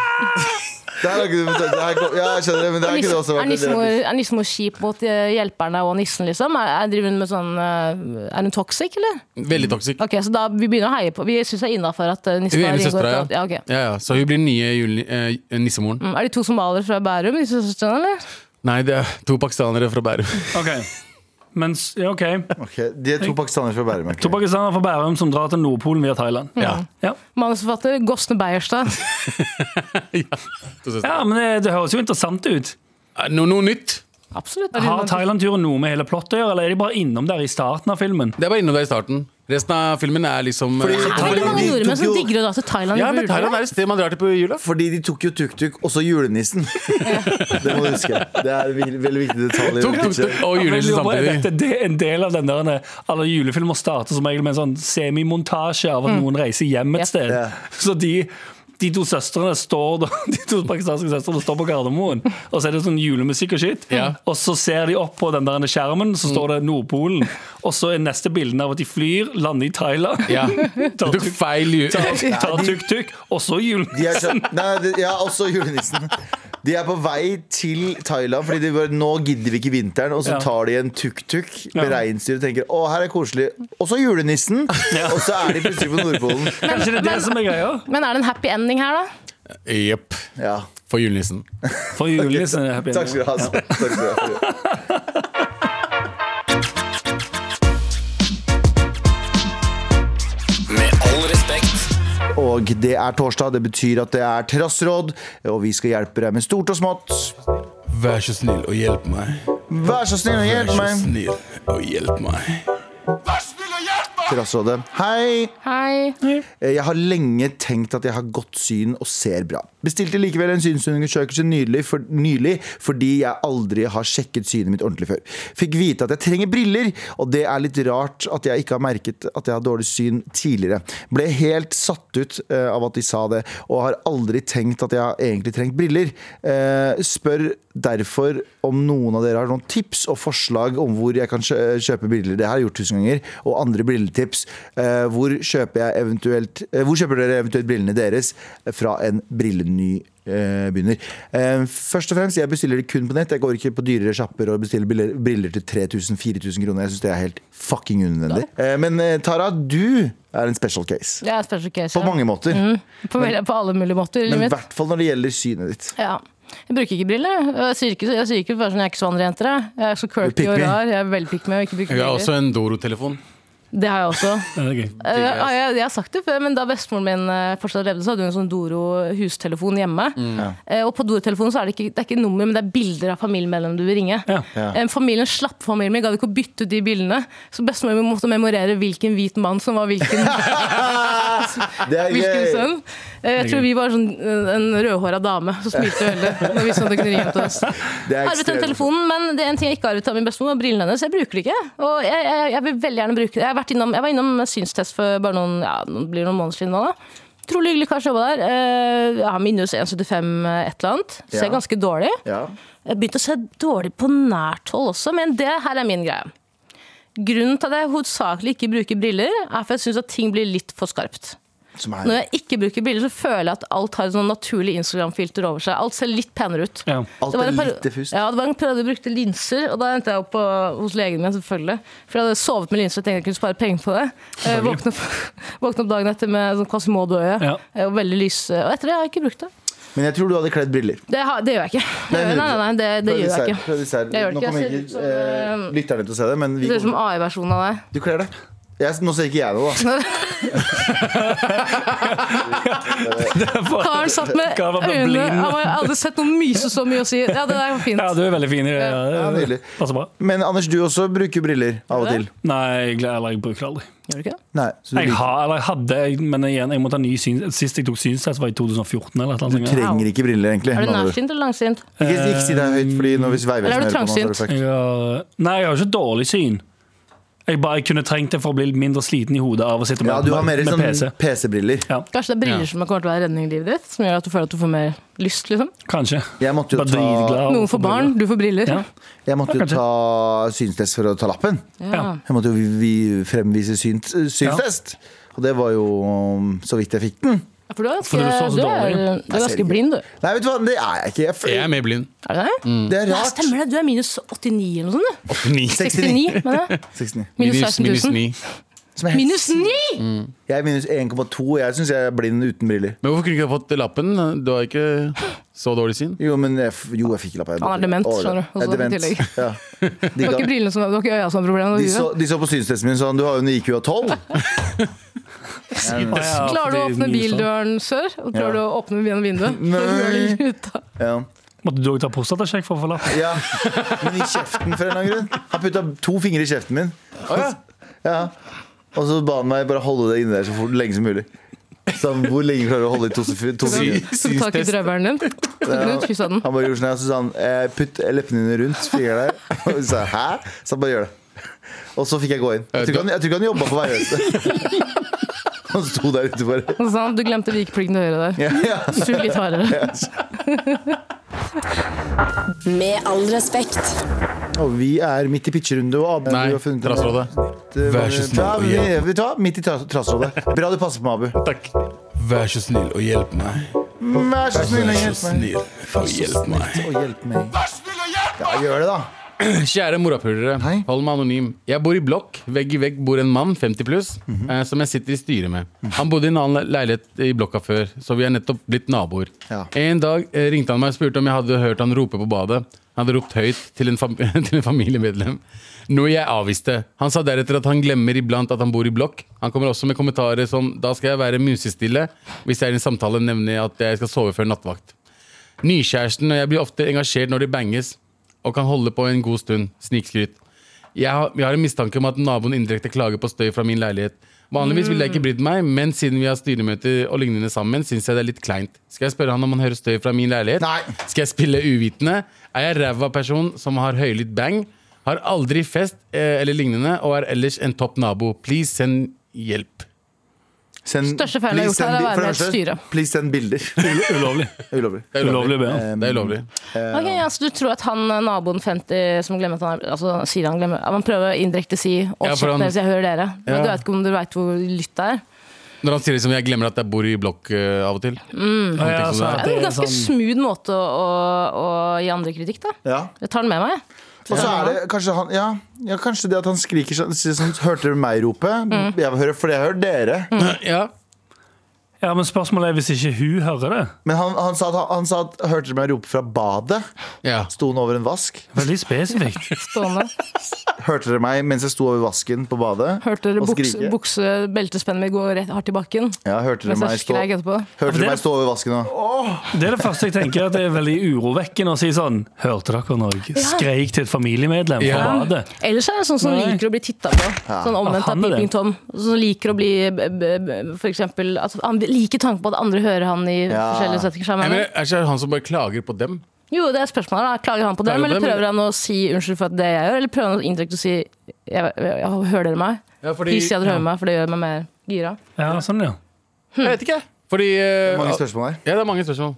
Det her er ikke det her kom- Ja, jeg skjønner det, men det er ikke det også
Er
vært en
nissemor
del.
er nissemor kjip mot eh, hjelperne og nissen, liksom? Er, er, driver hun med sånn eh, Er hun toxic, eller?
Veldig toxic.
Ok, Så da vi begynner å heie på Vi syns det er innafor at eh, nissen
Hun ene
har
søstera, ja.
inngått ja, ok.
ja, ja. Så hun blir den nye juli, eh, nissemoren.
Mm, Er de to somaliere fra Bærum, disse søstrene, eller?
Nei, det er to pakistanere fra Bærum.
Ok, Mens, ja, ok
Ok, De er to pakistanere fra Bærum. ok.
To pakistanere fra Bærum som drar til Nordpolen via Thailand.
Ja.
Ja.
Manusforfatter Gåsne Beierstad.
To søstre.
ja, men det, det høres jo interessant ut.
Eh, No, noe nytt.
Absolutt.
Har Thailand-turen noe med hele plottet å gjøre, eller er de bare innom der i starten av filmen?
Det er bare innom der i starten. Resten av filmen er liksom eh,
Det er veldig mange
De
nordmenn som
tok jo-
digger å dra til Thailand.
Ja,
i
men
juletiden.
Thailand er et sted man drar til på jula.
Fordi de tok jo tuk-tuk, også julenissen. Det må du huske. Det er en vik- veldig viktig detalj. i
Tok, tok,
det.
tok,
Ja,
og
men
julenissen
jeg lurer på, Er
samtidig.
dette det- en del av den der eh, Alle julefilmer starter som regel med en sånn semimontasje av at noen reiser hjem
Yep.
et sted.
Ja.
Så de, de to søstrene står da- De to pakistanske søstrene står på Gardermoen, og så er det sånn julemusikk og shit.
Ja. Mm.
Og så ser de opp på den der skjermen, så står det Nordpolen. Og så er neste bilden av at de flyr, lander i Thailand,
Ja. Du
tar
tok
tuk-
feil ju-
tar- tar tuk-tuk, og så
De er
julenissen.
så, nei, de, ja, også julenissen. De er på vei til Thailand fordi de bare, nå gidder vi ikke vinteren. Og så
Ja.
tar de en tuk-tuk med
Ja.
reinsdyr og tenker å, her er koselig. Og så julenissen!
Ja.
Og så er de plutselig på Nordpolen.
Kanskje det er det som er greia?
Men er det en happy ending her, da?
Jepp.
Ja.
For julenissen.
For julenissen er happy
Takk skal du ha. altså. Takk skal du ha.
Med all respekt.
Og det er torsdag, det betyr at det er Trassråd, og vi skal hjelpe deg med stort og smått.
Vær så snill og hjelp meg.
Vær så snill og hjelp meg.
snill og hjelp meg.
Trassrådet. Hei!
Hei.
Eh, Jeg har lenge tenkt at jeg har godt syn og ser bra. Bestilte likevel en synsundersøkelse nylig, for, nylig fordi jeg aldri har sjekket synet mitt ordentlig før. Fikk vite at jeg trenger briller, og det er litt rart at jeg ikke har merket at jeg har dårlig syn tidligere. Ble helt satt ut eh, av at de sa det, og har aldri tenkt at jeg har egentlig trengt briller. Eh, spør derfor om noen av dere har noen tips og forslag om hvor jeg kan kjø- kjøpe briller. Det har jeg gjort tusen ganger. Og andre brilletips. Eh, Hvor kjøper, jeg eventuelt, eh, hvor kjøper dere eventuelt brillene deres fra en brilleny eh, begynner? Eh, Først og fremst, jeg bestiller det kun på nett. Jeg går ikke på dyrere sjapper og bestiller briller- briller til 3000-4000 kroner. Jeg syns det er helt fucking unødvendig. Eh, Men eh, Tara, du er en special case.
Det er special case.
På
ja.
mange måter.
På, vel- på alle mulige måter. i
Men i
livet Mm, mitt.
hvert fall når det gjelder synet ditt.
Ja. Jeg bruker ikke briller. jeg. Jeg sier ikke, jeg sier ikke bare sånn, jeg er ikke så andre jenter. Jeg. jeg er så quirky
Pick
og
me.
rar. Jeg er veldig pick me og ikke bruker
Jeg har
briller.
også en Doro-telefon.
Det har jeg også.
Ja, det er gøy.
Eh, ja, jeg, jeg har sagt det før, men da bestemoren min eh, fortsatt levde, så hadde hun en sånn Doro-hustelefon hjemme.
Mm.
Eh, og på Doro-telefonen så er det ikke, det er ikke nummer, men det er bilder av familiemedlemmer du vil ringe.
Ja.
Eh, familien slapp familien min, gadd ikke å bytte ut de bildene. Så bestemoren min måtte memorere hvilken hvit mann som var hvilken,
Det er
hvilken
gøy.
sønn. Eh, jeg tror vi var sånn, eh, en rødhåra dame som smilte veldig når vi så at det kunne ringe hjem til oss.
Det er
Arvet den
ekstremt.
telefonen, men det er en ting jeg ikke har arvet av min bestemor, var brillene hennes. Jeg bruker det ikke. Og jeg, jeg, jeg vil veldig gjerne bruke det. Jeg, har vært innom, jeg var innom synstest for bare noen, ja, det blir noen måneder siden nå, da. Trolig hyggelig kar som jobba der. Eh, ja, minus 1,75 eh, et eller annet. Ser
Ja.
ganske dårlig.
Ja.
Jeg begynte å se dårlig på nært hold også, men det her er min greie. Grunnen til at jeg hovedsakelig ikke bruker briller, er for jeg syns at ting blir litt for skarpt.
Som er
Når jeg ikke bruker briller, så føler jeg at alt har et sånn naturlig Instagram-filter over seg. Alt ser litt penere ut.
Ja.
Alt
Det var
er
en peri-
litt diffust.
Ja, det var en periode jeg brukte linser, og da endte jeg opp på, hos legen min, selvfølgelig. For jeg hadde sovet med linser og tenkte jeg kunne spare penger på det. Eh, våkne, opp, våkne opp dagen etter med sånn Quasimodo-øye
Ja.
eh, og veldig lys. Og etter det har jeg ikke brukt det.
Men jeg tror du hadde kledd briller.
Det, har, det gjør jeg ikke. Nei, nei, nei, det, det gjør jeg ikke.
Prøv disse her.
Jeg gjør det
Nå
ikke.
kommer
Jeg ser ut
ikke
som,
eh,
eh,
lytterne til å se det, men
Det
vi
ser ut som
kommer.
AI-versjonen av deg.
Du kler det. Jeg, nå ser ikke jeg det, da.
Karen satt med
Karen var
øynene
bare blind.
Han har aldri sett noen myse så mye og si Ja, det der var fint.
Ja, du er veldig fin i det. Ja, det-
Ja, nydelig.
Passer bra.
Men Anders, du også bruker briller av og til.
Nei, jeg, eller jeg bruker det aldri.
Gjør du ikke det?
Nei, så du,
Jeg
liker-
har, eller jeg hadde, men igjen, jeg må ta ny syns, sist jeg tok synstest var i 2014 eller et eller
du
annet. sånt.
trenger ikke briller, egentlig.
Er du
med andre ord.
nærsynt eller langsynt?
Ikke, ikke si det høyt, fordi nå hvis
Eller er
Vegvesenet hører
du
på nå, så er det
trangsynt?
fucked.
Jeg har, nei, jeg har ikke dårlig syn. Jeg bare jeg kunne trengt det for å bli litt mindre sliten i hodet av å sitte med,
Ja, du har mer
med, med
sånn
PC.
PC-briller.
Kanskje det er briller som kommer til å være redningen i livet ditt? Som gjør at du føler at du får mer lyst, liksom?
Kanskje.
Jeg måtte jo
Bare
ta,
dritglad
Noen
og
får barn, du får briller.
Ja.
jeg måtte jo
Ja, kanskje.
ta synstest for å ta lappen.
Ja.
Jeg måtte jo vi- vi fremvise synt, synstest. Og det var jo um, så vidt jeg fikk den.
For du er
For du så
ganske,
så
du
dårlig.
er, du er
Jeg ser
ganske
ikke.
blind, du.
Nei, vet du hva, det er jeg ikke. Jeg
Jeg
føler,
er mer blind.
Er du det?
det er
Ja,
rart.
stemmer det. Du er minus 89 eller noe sånt. du. 69, mener jeg.
69.
Minus
Minus,
16
minus
000.
9.
Som er-
Minus 9!
Mm. Jeg er minus 1,2. Jeg syns jeg er blind uten briller.
Men hvorfor kunne du ikke ha fått lappen? Du har ikke så dårlig syn.
Jo, men jeg, f- jo, jeg fikk lappa.
Han er Ah, dement, skjønner du,
Jeg er
også i
dement.
tillegg.
Ja. De,
Det var
ga,
ikke brillene som, det var ikke øya som var problemet.
de,
det var
så,
huet.
de så på synstesten min og sa du har jo en IQ av 12.
Klarer du å
bildøren?
åpne bildøren sør? Og
sånn. Ja.
klarer du å åpne gjennom vinduet?
Nei.
Nei.
Ja.
Måtte du òg ta prostatasjekk for å få lapp?
ja. Men i kjeften, for en eller annen grunn. Han putta to fingre i kjeften min. Ja. Og så ba han meg bare holde det inni der så fort, lenge som mulig. Så han, hvor lenge klarer du å holde i to, to fingre?
Så du tak i drøveren din, tok den ut, kyssa den.
Han bare gjorde sånn her, så sa han eh, putt leppene dine rundt fingeren der. Og så sa jeg, hæ? Så han bare gjør det. Og så fikk jeg gå inn. Jeg tror ikke han, jeg tror ikke han jobba på Vegvesenet. Han sto der ute bare.
Og så sa han du glemte vikeplikten til høyre der.
Ja, ja.
Sug litt hardere.
Med all respekt.
Og vi er midt i pitcherunde. Og Abu,
Nei,
du har funnet en-
Trassrådet.
Det var-
Vær så snill
Ja,
og
vi-
hjelp.
Vet du hva? Midt i tra- trassrådet. Bra du passer på meg, Abu.
Takk.
Vær så snill og hjelp meg.
Vær så snill og
Vær så
hjelp meg.
snill og hjelp meg.
Og hjelp meg. Ja, gjør det, da.
Kjære morapulere,
Hei.
hold meg anonym. Jeg bor i blokk. Vegg i vegg bor en mann, 50 pluss,
Mhm.
eh, som jeg sitter i styret med. Han bodde i en annen le- leilighet i blokka før, så vi er nettopp blitt naboer.
Ja.
En dag eh, ringte han meg og spurte om jeg hadde hørt han rope på badet. Han hadde ropt høyt til en, fam til en familiemedlem, noe jeg avviste. Han sa deretter at han glemmer iblant at han bor i blokk. Han kommer også med kommentarer som 'da skal jeg være musestille', hvis jeg er i en samtale nevner jeg at jeg skal sove før nattvakt. Nykjæresten og jeg blir ofte engasjert når de banges, og kan holde på en god stund. Snikskryt. Jeg har, jeg har en mistanke om at naboen indirekte klager på støy fra min leilighet. Vanligvis ville jeg ikke brydd meg, men siden vi har styremøter og lignende sammen, syns jeg det er litt kleint. Skal jeg spørre han om han hører støy fra min leilighet?
Nei.
Skal jeg spille uvitende? Er jeg ræva person som har høylytt bang? Har aldri fest eh, eller lignende, og er ellers en topp nabo. Please send hjelp.
Send-
Største feilen jeg har
please
gjort her
send bi-
er å være
for det
med et
første,
styre.
Please send bilder.
Ulovlig.
Ulovlig.
Ulovlig å be om.
Eh,
Det er ulovlig.
Ok, ja, så du tror at han eh, naboen 50 som glemmer at han er Altså sier han glemmer ja, Man prøver å indirekte si Å,
Ja, for
kjeft
han-
deres, jeg hører dere. Men
Ja.
du vet ikke om du veit hvor lytt det er.
Når han sier liksom, jeg glemmer at jeg bor i blokk eh, av og til.
Mm. Ja, ja, så
Det
at
er
det
en
er
ganske
sånn-
smooth måte å, å, å gi andre kritikk, da.
Ja.
Jeg tar den med meg. jeg.
Og så er det kanskje han ja, ja, kanskje det at han skriker sånn, sier sånn Hørte dere meg rope? Jeg vil høre, for jeg hører dere.
Mm.
altså.
Ja.
Ja, men spørsmålet er hvis ikke hun hører det.
Men han, han, sa at, han, han sa at hørte dere meg rope fra badet?
ja.
Sto han over en vask?
Veldig spesifikt.
Stående.
Hørte dere meg mens jeg sto over vasken på badet?
Hørte dere
og
bukse,
skrike?
bukse beltespennet mitt gå rett hardt i bakken?
Ja, hørte dere
Mens
meg
jeg
stå,
skrek etterpå.
hørte
det-
dere meg stå over vasken og
Det er det første jeg tenker, at det er veldig urovekkende å si sånn Hørte dere når jeg skreik til et familiemedlem fra
Ja.
badet?
Ellers er det sånn som
Nei.
liker å bli titta på. Sånn omvendt
Ja,
av
han er det.
Peeping Tom. Som liker å bli b- b- b- for eksempel, at Han liker tanken på at andre hører han i
Ja.
forskjellige settinger. skjønner jeg
Jeg mener,
mener.
er ikke det han som bare klager på dem?
Jo, det er spørsmålet. da. Klager han på det,
Klager på
eller
dem,
prøver han å si unnskyld for at det jeg gjør? Eller prøver han å indirekte å si jeg, jeg, jeg, hører dere meg?
Ja, fordi-
Hvis jeg hadde hørt meg, for det gjør meg mer gira.
Ja, sånn, ja.
Hm. Jeg vet ikke. Fordi eh,
Mange spørsmål her.
Ja, det er mange spørsmål.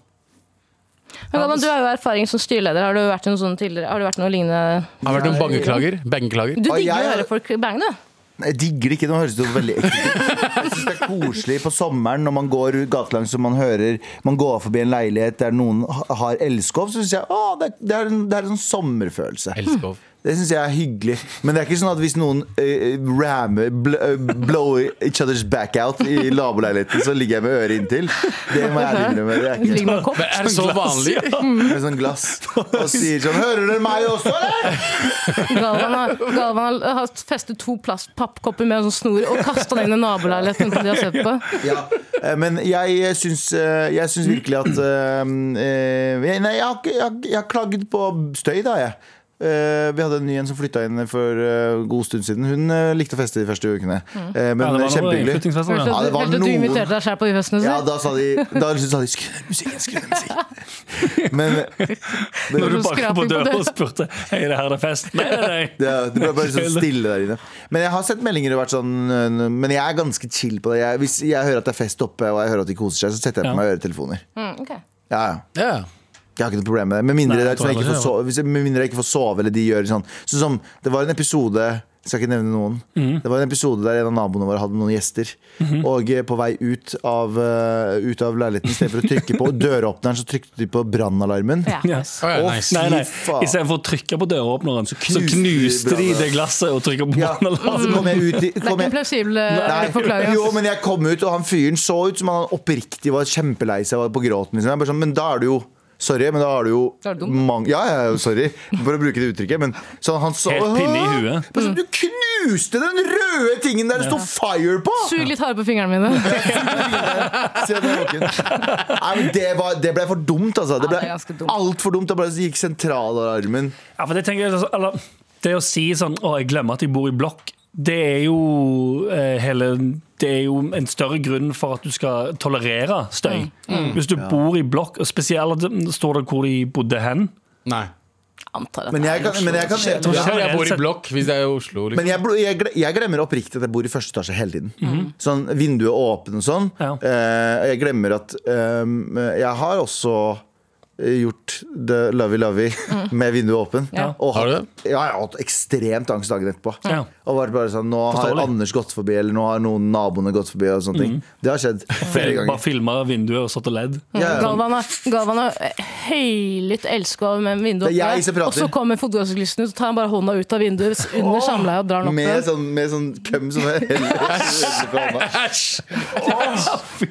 Men Galvan, du har jo erfaring som styreleder. Har du vært i noe sånt tidligere? Har du vært noe lignende?
Har det vært noen bangeklager? Bangeklager.
Du
Og
digger
jeg-
å høre folk bange, du.
Jeg digger det ikke, nå høres det jo veldig ekkelt ut. Jeg synes det er koselig på sommeren når man går ut gatelangs og man hører Man går forbi en leilighet der noen ha- har elskov, så syns jeg å, det, er- det, er en, det er en sånn sommerfølelse.
Elskov.
Det syns jeg er hyggelig. Men det er ikke sånn at hvis noen eh, rammer bl eh, blow each other's back out i naboleiligheten, så ligger jeg med øret inntil. Det må jeg ærlig innrømme. Det er
Ligger med en kopp.
Men er det så vanlig?
ikke med sånn glass og sier sånn Hører dere meg også, eller?
Galvan har, Galvan har- har festet to plast- pappkopper med en sånn snor og kasta den inn i naboleiligheten som de har sett på.
Ja. Eh, Men jeg syns, eh, jeg syns virkelig at eh, eh, jeg- Nei, jeg har, ikke- jeg, har, jeg har klaget på støy, da, jeg. Eh, vi hadde en ny en som flytta inn for eh, god stund siden. Hun eh, likte å feste de første ukene. Eh, men
ja det var noe
kjempehyggelig.
innflyttingsfest,
Hørte
ja.
Ja, det
du
var
hørte du
noen-
inviterte deg selv på Ufesten?
Ja,
Ja,
da sa de Da liksom sa de skru ned musikken, skru ned musikken. Men eh,
Når du
sånn-
Så
banket på
skraping på
døra
døra.
og spurte Hei, det her er fest. Nei, nei, nei.
det, det ble bare sånn stille der inne. Men jeg har sett meldinger og vært sånn øh, Men jeg er ganske chill på det. Jeg, hvis jeg hører at det er fest oppe, og jeg hører at de koser seg, så setter jeg på meg øretelefoner.
mm, ok.
Ja, ja.
Ja.
Jeg har ikke noe problem med det. Med mindre,
Nei,
det er
jeg tror
sånn jeg ikke
heller
får sove, hvis jeg, med mindre jeg ikke får sove, eller de gjør sånn. Sånn som Det var en episode Skal ikke nevne noen. Det var en episode der en av naboene våre hadde noen gjester. Og eh, på vei ut av, eh, ut av leiligheten, i stedet for å trykke på døråpneren, så trykte de på brannalarmen.
Ja.
Ja.
Å ja,
Å,
nice.
Nei, nei.
Fy faen.
Istedenfor å trykke på døråpneren, så knuste,
knuste
de
de
det glasset og trykket på
Ja,
brannalarmen.
så kom jeg ut i,
Det er
kom
ikke en
jeg,
plausibel eh,
Nei,
forklaring.
jo, men jeg kom ut, og han fyren så ut som han oppriktig var kjempelei seg og var på gråten. Liksom. Jeg bare sånn, men da er du jo Sorry, men da er du jo
Da er du dum.
mang- Ja, ja, ja, sorry for å bruke det uttrykket. Men så han så
Helt pinne i huet.
Bare sånn, Du knuste den røde tingen der det står 'fire' på!
Sug litt hardere på fingrene mine.
Se, det, var ikke- Nei, men det, var, det ble for dumt, altså. Det
Ja,
ble
det er ganske dumt.
altfor dumt. Det bare gikk sentralarmen.
Ja, for det tenker jeg altså, eller, Det å si sånn Å, jeg glemmer at jeg bor i blokk Det er jo eh, hele Det er jo en større grunn for at du skal tolerere støy Hvis du bor i blokk Og spesielt altså, står det hvor de bodde hen
Nei.
Antar at
Men
det
jeg
er
kan, men jeg kan
Generelt
Jeg, tror jeg bor
sett-
i blokk hvis det er i Oslo. Liksom.
Men jeg, bl- jeg, gle- jeg glemmer oppriktig at jeg bor i første etasje hele tiden. Sånn, Vinduet åpent og sånn.
Ja.
Eh, jeg glemmer at ehm, Jeg har også eh, gjort det lovey-lovey med vinduet åpent.
Ja.
Og
Har du det?
Ja, jeg har hatt ekstremt angst dagen etterpå.
Ja.
Og vært bare sånn, Nå har
Forståelig.
Anders gått forbi, eller nå har noen naboene gått forbi. og sånne ting Det har skjedd flere
Bare
ganger.
filmer vinduer og satt og ledd
Ja, ja.
Galvan har, Galvan har eh, høylytt elska med vinduet
Det er jeg som
oppe,
prater.
og så kommer fotografisten ut og tar han bare hånda ut av vinduet s- under samleie og drar den opp
Med
igjen.
sånn, med sånn køm som er
Æsj!
Æsj.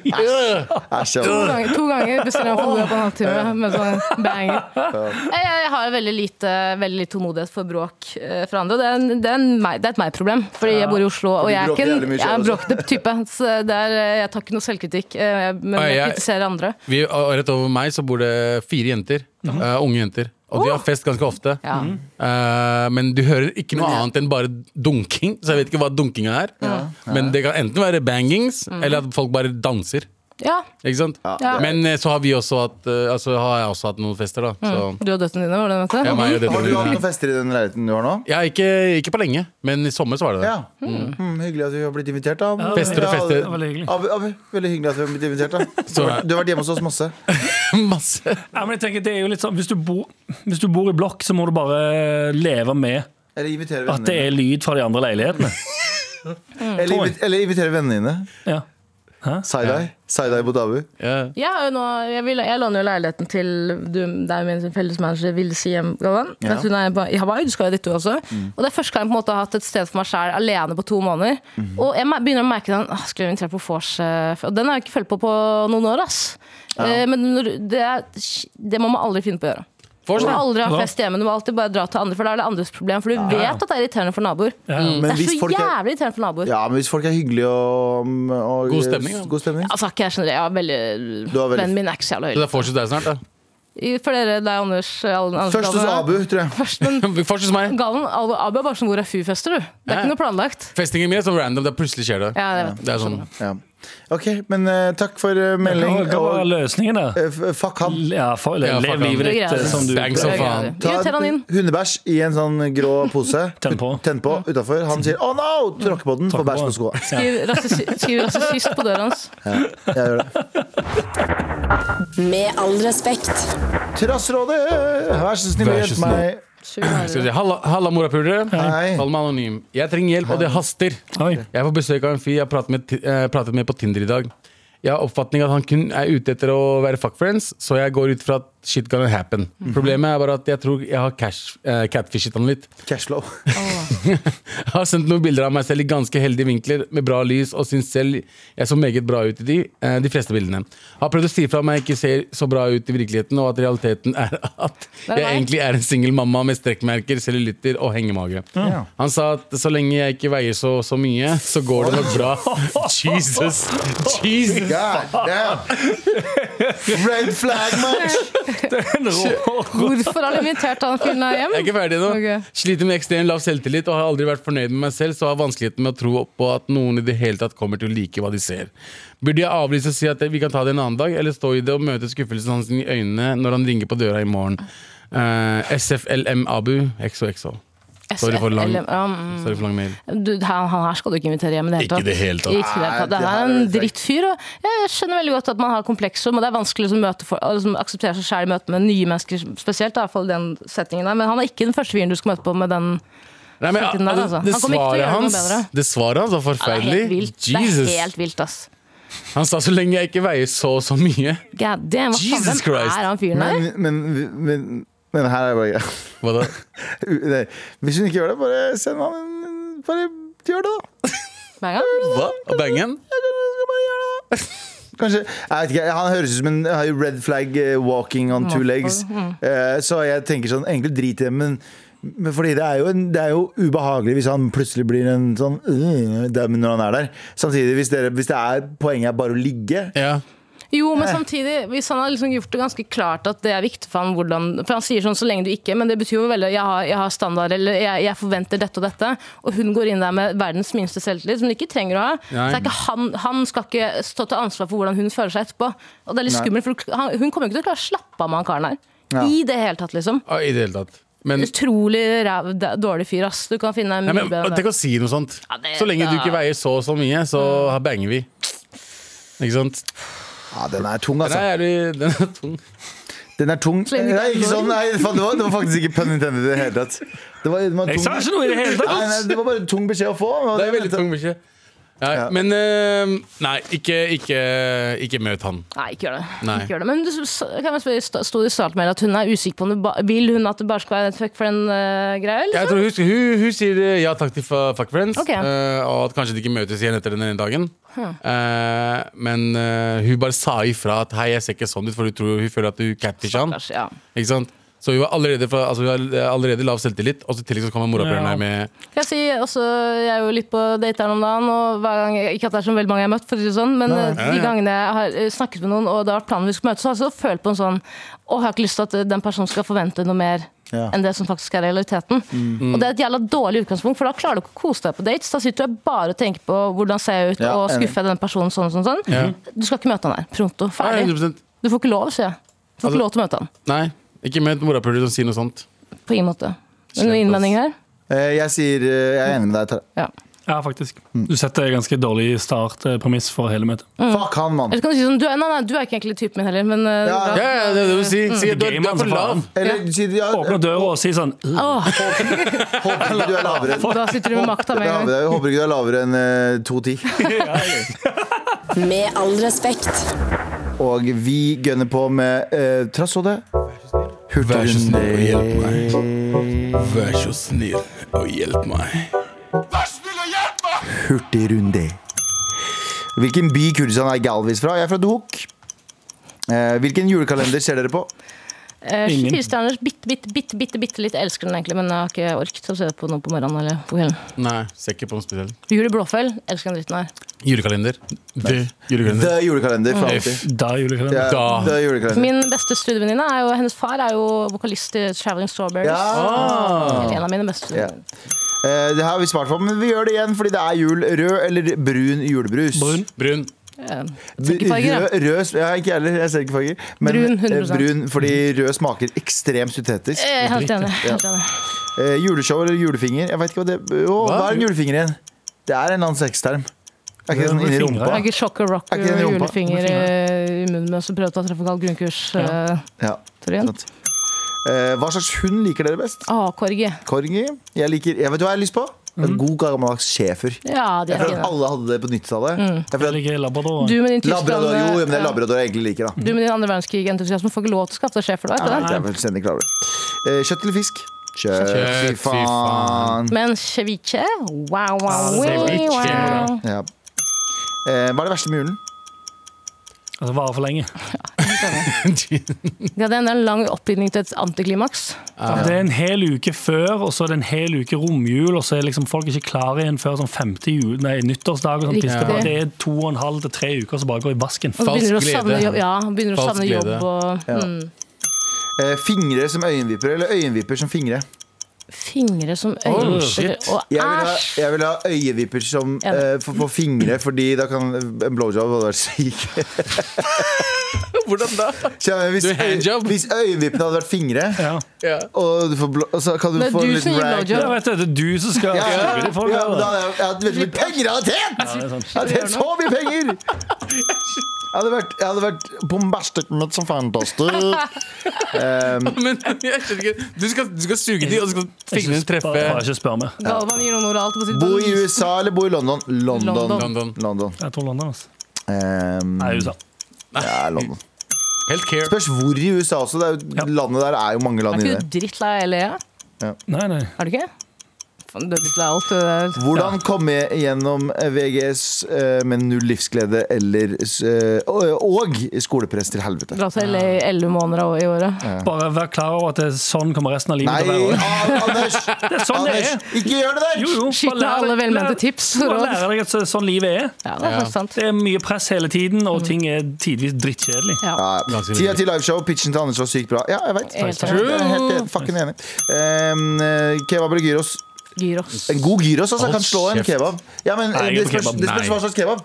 To
ja.
ganger, to ganger bestiller han for ordet på en halvtime med sånn banger. Jeg, jeg har veldig lite, veldig lite tålmodighet for bråk eh, fra andre, og det er, en- det er, en meg, det er et meg-problem, fordi jeg bor i Oslo, og
Fordi
jeg er
du
ikke
bråker
en,
jævlig mye altså.
jeg er en
selv
bråkete type. Så det er, eh, jeg tar ikke noe selvkritikk, eh, jeg- men
Nei,
jeg
jeg-
kritiserer andre.
Vi, og rett over meg så bor det fire jenter. eh, unge jenter. Og de har fest ganske ofte.
Ja.
Mm.
Eh, men du hører ikke noe
Men jeg-
annet enn bare dunking. Så jeg vet ikke hva dunkinga er. Men det kan enten være bangings, eller at folk bare danser.
ja.
Ikke sant?
Ja.
Men eh, så har vi også hatt eh, Altså har jeg også hatt noen fester, da. Så
Du og døtrene dine, var det det?
jeg,
het?
Har
meg og
du hatt
døtrene
noen
mine.
fester i den leiligheten du har nå?
Ja, ikke, ikke på lenge, men i sommer så var det det.
Ja. Mm, hyggelig at vi har blitt invitert, da.
Fester og
Ja,
fester.
Det var veldig hyggelig.
Abu, Abu, veldig hyggelig at vi har blitt invitert. da Du har, vært- du har vært hjemme hos oss masse.
Masse.
ja, men jeg tenker, det er jo litt sånn hvis du, bor, hvis du bor i blokk så må du bare leve med
Eller inviterer
At det
vennene
er lyd fra de andre leilighetene
dine. Eller, invi- eller inviterer vennene dine.
Ja
Side-eye. Side-eye mot Abu.
Ja.
Jeg, har jo nå, jeg, vil, jeg låner jo leiligheten til du, deg og min felles manager Vilde Siem Galvan.
Ja. Mm.
Mens hun er på- i Hawaii, du skal jo dit du også. Og det er første gang jeg på en måte har hatt et sted for meg sjæl alene på to måneder.
Mhm.
Og jeg mer- begynner å merke den «Åh, Skulle jeg invitere på vors eh, for-» Og den har jeg ikke følt på på noen år, ass. Eh, Men når- det, er- det må man aldri finne på å gjøre. Du må aldri ha fest hjemme. Du må alltid bare dra til andre, for da er det andres problem. For du vet at det er irriterende for naboer.
Men
det er
hvis
så
folk er,
jævlig irriterende for naboer.
ja, men hvis folk er hyggelige og, og
God stemning, da.
god stemning.
Altså, ikke jeg skjønner det. Jeg er veldig,
Du er veldig-
Vennen min er ikke så jævla
Så det
høylytt.
er fortsatt deg snart, da.
I- For dere, deg, Anders. alle- Anders
Først hos
Galvan.
Abu, tror jeg.
Først, men
Fortsatt meg.
Gallen, Abu, Abu er bare sånn Hvor er Fu-fester, du? Det er
Ja.
ikke noe planlagt.
Festingen min er sånn random. Det er plutselig skjer det.
Ja, jeg vet.
Det er sånn
Ja. Ok, men eh, takk for eh, melding.
Hva hva var
Og,
løsningen der?
eh, f- fuck han.
Ja, for,
Ja, fuck
lev
han.
livet
Det er
ditt
greit.
eh, som du
Bang, så
Det er
faen.
greit.
Ta
Inviter han inn.
hundebæsj i en sånn grå pose.
Tenn på.
Tenn på utafor. Han sier 'å no!' Tråkker på den, får
på
bæsj på
den.
skoa.
Skriv rasist- skriv rasist på døra hans.
Jeg gjør det.
Med all respekt.
Trassrådet, vær så snill og
Vær så
hjelp
snill.
meg.
Sur være.
Skal vi se. Halla, halla morapulere.
Hei.
Kall meg anonym. Jeg trenger hjelp, og det haster.
Oi.
Jeg får besøk av en fyr jeg pratet med, ti- eh, pratet med på Tinder i dag. Jeg har oppfatning at han kun er ute etter å være fuckfriends, så jeg går ut fra at shit gonna happen. Problemet er bare at jeg tror jeg har cash, eh, catfishet han litt.
Cashflow.
Jeg har sendt noen bilder av meg selv i ganske heldige vinkler med bra lys, og syns selv jeg så meget bra ut i de, eh, de fleste bildene. Har prøvd å si fra om jeg ikke ser så bra ut i virkeligheten, og at realiteten er at
er
jeg
meg.
egentlig er en singel mamma med strekkmerker, cellulitter og hengemage. Han sa at så lenge jeg ikke veier så, så mye, så går det nok bra. Jesus! Jesus!
God damn! Red flag match!
Hvorfor har du invitert han fyren her hjem?
Jeg er ikke ferdig nå.
Ok.
Sliter med ekstremt lav selvtillit og har aldri vært fornøyd med meg selv, så har vanskeligheten med å tro på at noen i det hele tatt kommer til å like hva de ser. Burde jeg avlyse og si at vi kan ta det en annen dag, eller stå i det og møte skuffelsen hans i øynene når han ringer på døra i morgen? Eh, SFLM Abu, XOXO. Sorry for lang,
SFLM, ja, mm.
sorry for lang mail.
Du, han, han her skal du ikke invitere hjem i det hele
Ikke i
tatt.
det hele tatt.
Ikke i det hele tatt.
Nei, det
Det er
her er
en
litt
drittfyr. Og jeg skjønner veldig godt at man har komplekser, men det er vanskelig å møte for, å liksom akseptere seg selv i møte med nye mennesker spesielt. da, i hvert fall i den settingen der. Men han er ikke den første fyren du skal møte på med den
Nei,
Slett
men,
i den der, altså.
det,
Han kommer ikke til å
svaret
gjøre noe
hans,
bedre.
det svaret hans var
Det er helt
forferdelig.
vilt. Det
Jesus.
er helt vilt, ass.
Han sa så lenge jeg ikke veier så og så mye.
God damn, hva faen,
Jesus
hvem
Christ.
er han fyren der?
Men, men, men, men her er det bare
Hva da?
Nei, Hvis hun ikke gjør det, bare send ham en- Bare gjør det, da.
Hver gang?
Hva? Bangen?
Kanskje, jeg vet ikke, Han høres ut som en har jo red flag eh, walking on two legs.
mm.
Eh, Så jeg tenker sånn, egentlig drit i det, men men fordi det er, jo en, det er jo ubehagelig hvis han plutselig blir en sånn øh, dem når han er der. Samtidig, hvis, dere, hvis det er, poenget er bare å ligge
Ja.
Jo, men samtidig, hvis han har liksom gjort det ganske klart at det er viktig for ham hvordan For han sier sånn 'så lenge du ikke', men det betyr jo veldig jeg har, 'jeg har standard', eller jeg, 'jeg forventer dette og dette', og hun går inn der med verdens minste selvtillit, som hun ikke trenger å ha.
Nei.
Så det er ikke han, han skal ikke stå til ansvar for hvordan hun føler seg etterpå. Og det er litt
Nei.
skummelt, for du- han, hun kommer jo ikke til å klare å slappe av med han karen her.
Ja.
I det hele tatt, liksom.
Å, Ah, I det hele tatt. Men,
Utrolig ræv, d- dårlig fyr, ass. Du kan finne en
nei,
mye
men
bedre enn
tenk
det.
å si noe sånt.
Ja, det-
Så lenge du
da- Mm.
ikke veier så og så mye, så banger vi. Ikke sant?
Ja, den er tung,
Den
altså.
er jævlig den er tung.
Den er tung.
lenge du
Nei,
ikke
ikke
går
sånn, nei faen, det, var, det var faktisk ikke pun intended i det hele tatt. Det var, det var
Jeg
tung-
sa ikke noe i det hele
Nei, nei,
tatt!
det var bare en tung beskjed å få. og
Det er
det-
veldig tung beskjed. Ja,
Ja.
Men eh, nei, ikke, ikke, ikke møt han.
Nei, ikke gjør det.
Nei.
Ikke gjør det. Men du, s- kan jeg spørre, sto- sto det i starten med at hun er usikker på om det ba Vil hun at det bare skal være et fuck for en eh, greie, eller?
Jeg tror hun, hun, hun sier eh, ja takk til fa- fuck friends,
Ok. Hm.
eh, og at kanskje de ikke møtes igjen etter den ene dagen. Eh, men eh, hun bare sa ifra at hei, jeg ser ikke sånn ut, for hun, tror, hun føler at du catfisher han.
Kanskje, ja.
Ikke sant? Så hun var allerede, fra, altså, hun har allerede lav selvtillit, og så i tillegg så kommer morapuleren
Ja.
her med
Kan jeg si, også, jeg er jo litt på dateren om dagen, og hver gang, ikke at det er så veldig mange jeg har møtt, for å si det sånn, men eh,
Ja,
de
ja.
gangene jeg har eh, snakket med noen, og det har vært planen vi skulle møtes, så har jeg også følt på en sånn Å, jeg har ikke lyst til at eh, den personen skal forvente noe mer.
Ja.
Enn det som faktisk er realiteten. Og det er et jævla dårlig utgangspunkt, for da klarer du ikke å kose deg på dates. Da sitter du bare og tenker på hvordan ser jeg ut,
Ja,
og
enig.
skuffer jeg den personen sånn sånn sånn.
Ja.
Du skal ikke møte han her. Pronto.
Nei,
Ferdig.
100
Du får ikke lov, sier jeg. Du får
Altså-
ikke lov til å møte han.
Nei, ikke møt morapuleren som sier noe sånt.
På ingen måte. Er det
Slemt,
noen
ass.
innvendinger her?
Eh, Jeg sier eh, Jeg er enig med deg. Tara.
Ja.
Ja, faktisk.
Mm.
Du setter ganske dårlig startpremiss for hele møtet.
Fuck han, mann.
Eller så kan du si sånn du er, Nei, nei, du er ikke egentlig typen min heller, men eh,
Ja,
bra.
Ja, ja, det er det hun sier. Si at du, er-
Game
du er
on,
for lav.
Eller du sier ja,
Åpner døra og sier sånn «Øh,
Åh,
håper ikke du er lavere.
da sitter du med makta med
Jeg
en gang.
håper ikke du er lavere enn eh, 2,10.
Med all respekt.
Og vi gønner på med uh, trass og det.
Vær så snill og hjelp
meg.
Vær så snill og hjelp meg.
Hurtigrunde. Hvilken by i Kurdistan er Galvis fra? Jeg er fra Duhok. Eh, hvilken julekalender ser dere på?
Eh,
Ingen.
Fire stjerners bitte, bitte, bitte, bitte, bitte litt. Jeg elsker den egentlig, men jeg har ikke orket å se på noe på morgenen eller på kvelden.
Nei, ser ikke på noe spesielt.
Jul i Blåfjell. Elsker den dritten her.
Julekalender. Det. Julekalender.
The julekalender. for alltid.
Da er julekalender.
Ja,
Da.
The julekalender.
Min beste studievenninne er jo Hennes far er jo vokalist i Traveling Strawberries.
Ja.
Eller En av mine beste
Ja.
studievenninner.
Eh, det har vi svart på, men vi gjør det igjen fordi det er jul. Rød eller brun julebrus?
Brun.
Brun.
Ser ikke farger, jeg.
Rød, rød sp- ja, ikke heller, jeg ser ikke farger. Men
Brun,
eh,
100%.
brun fordi rød smaker ekstremt syntetisk.
Eh, Helt enig. Helt enig.
Eh, juleshow eller julefinger? Jeg vet ikke hva det Å, hva er en julefinger igjen? Det er en eller annen sexterm. Er ikke det sånn inni
Fingre.
rumpa?
Jeg er ikke sjokk og rock
Er ikke den i
og
rumpa?
julefinger i i munnen mens du prøver å ta trafikalt grunnkurs. eh,
Ja,
Torjen.
sant. Eh, hva slags hund liker dere best?
Å, korgi.
Corgi? Jeg liker Jeg vet hva jeg har lyst på? En god gammeldags schæfer.
Ja, de
Jeg
er
føler at
fine.
alle hadde det på 90-tallet. Jeg føler
Jeg
at
liker labrador.
Du med din
Labrador, jo, men det er
ja.
labrador jeg egentlig liker, da.
Du med din andre verdenskrig-entusiasme får ikke lov til å skaffe deg sjef for det.
Nei,
vet du det?
jeg er fullstendig klar over det. Eh, Kjøtt eller fisk? Kjøtt,
Kjøtt,
fy
fy faen.
faen.
Men ceviche Wow, wow,
Ja,
wow,
ceviche.
wow.
Ja. Eh, hva er det verste med julen?
Altså, varer for lenge.
Ja, det er en lang oppbygning til et antiklimaks.
Ja, Det er en hel uke før, og så er det en hel uke romjul, og så er liksom folk ikke klare igjen før sånn femte jul, nei, nyttårsdag. Og sånn,
Riktig.
tiske på. Det er to og en halv til tre uker som bare går i vasken.
Og så
Falsk
begynner du å savne
glede.
jobb. Ja, begynner du å
Falsk
savne jobb
glede.
og
Ja.
mm,
Eh, fingre som øyenvipper, eller øyenvipper som fingre?
fingre som
Oh,
øyne
shit.
og
Jeg vil ha,
æsj!
jeg vil ha øyevipper som,
Enig.
eh, for, for fingre, fordi da kan en blowjob hadde vært syk.
Hvordan da?
Så, ja, hvis,
Du,
øy,
handjob.
hvis øyevippene hadde vært fingre,
Ja.
Ja.
og, du får blå, og så kan du
Det er
få
du
en
som
liten
gir
rag.
blowjob.
Ja, vet du, det er du som skal
Ja,
skjule det folk.
ja, men da
eller?
hadde jeg- jeg hadde vet du hvor mye penger jeg hadde tjent!
Ja, det er sant.
Jeg hadde tjent så mye penger! Jeg hadde vært, jeg hadde vært bombastic med som fantastisk. Eh,
Men jeg skjønner ikke Du skal, du skal suge de, og så skal fingrene
Ikke spør- bare
treffe
Ikke spør meg.
Galvan gir noen ord alt på sitt
Bo i USA eller bo i London? London.
London.
London.
London.
Jeg tror London, altså.
Ehm,
Nei, USA.
ja, London.
Healthcare.
Spørs hvor i USA også. Det er jo, Landet der er jo mange land
Er
i
ikke
det.
du drittlei E av LA?
Nei, nei.
Er du ikke? Faen, du er drittlei av alt. det der.
Hvordan komme gjennom VGS eh, med null livsglede eller eh, og- og skolepress til helvete?
Dra til LA i elleve måneder av- i året.
Bare vær klar over at det er sånn kommer resten av livet
Nei,
til å være.
ah, Anders!
Det er sånn det
Anders,
er.
ikke gjør det der!
Jo, jo.
Skyt
bare
ned
lær
alle
deg-
velmente
lær-
tips og
Bare
råd.
lære deg at så- sånn livet er.
Ja, det er faktisk sant.
Det er mye press hele tiden, og ting er tidvis drittkjedelig.
Mm. Ja.
Ja,
oss si det.
Ti av ti liveshow. Pitchen til Anders var sykt bra. Ja, jeg vet.
Helt
Jeg er helt enig. Fucking enig. Ehm, eh, kebab eller gyros?
Gyros.
En god gyros altså,
Hold
kan slå en
kjeft.
kebab. Ja, men eh,
Nei,
Det
jeg er på
spørs
kebab.
det spørs
Nei.
hva slags kebab.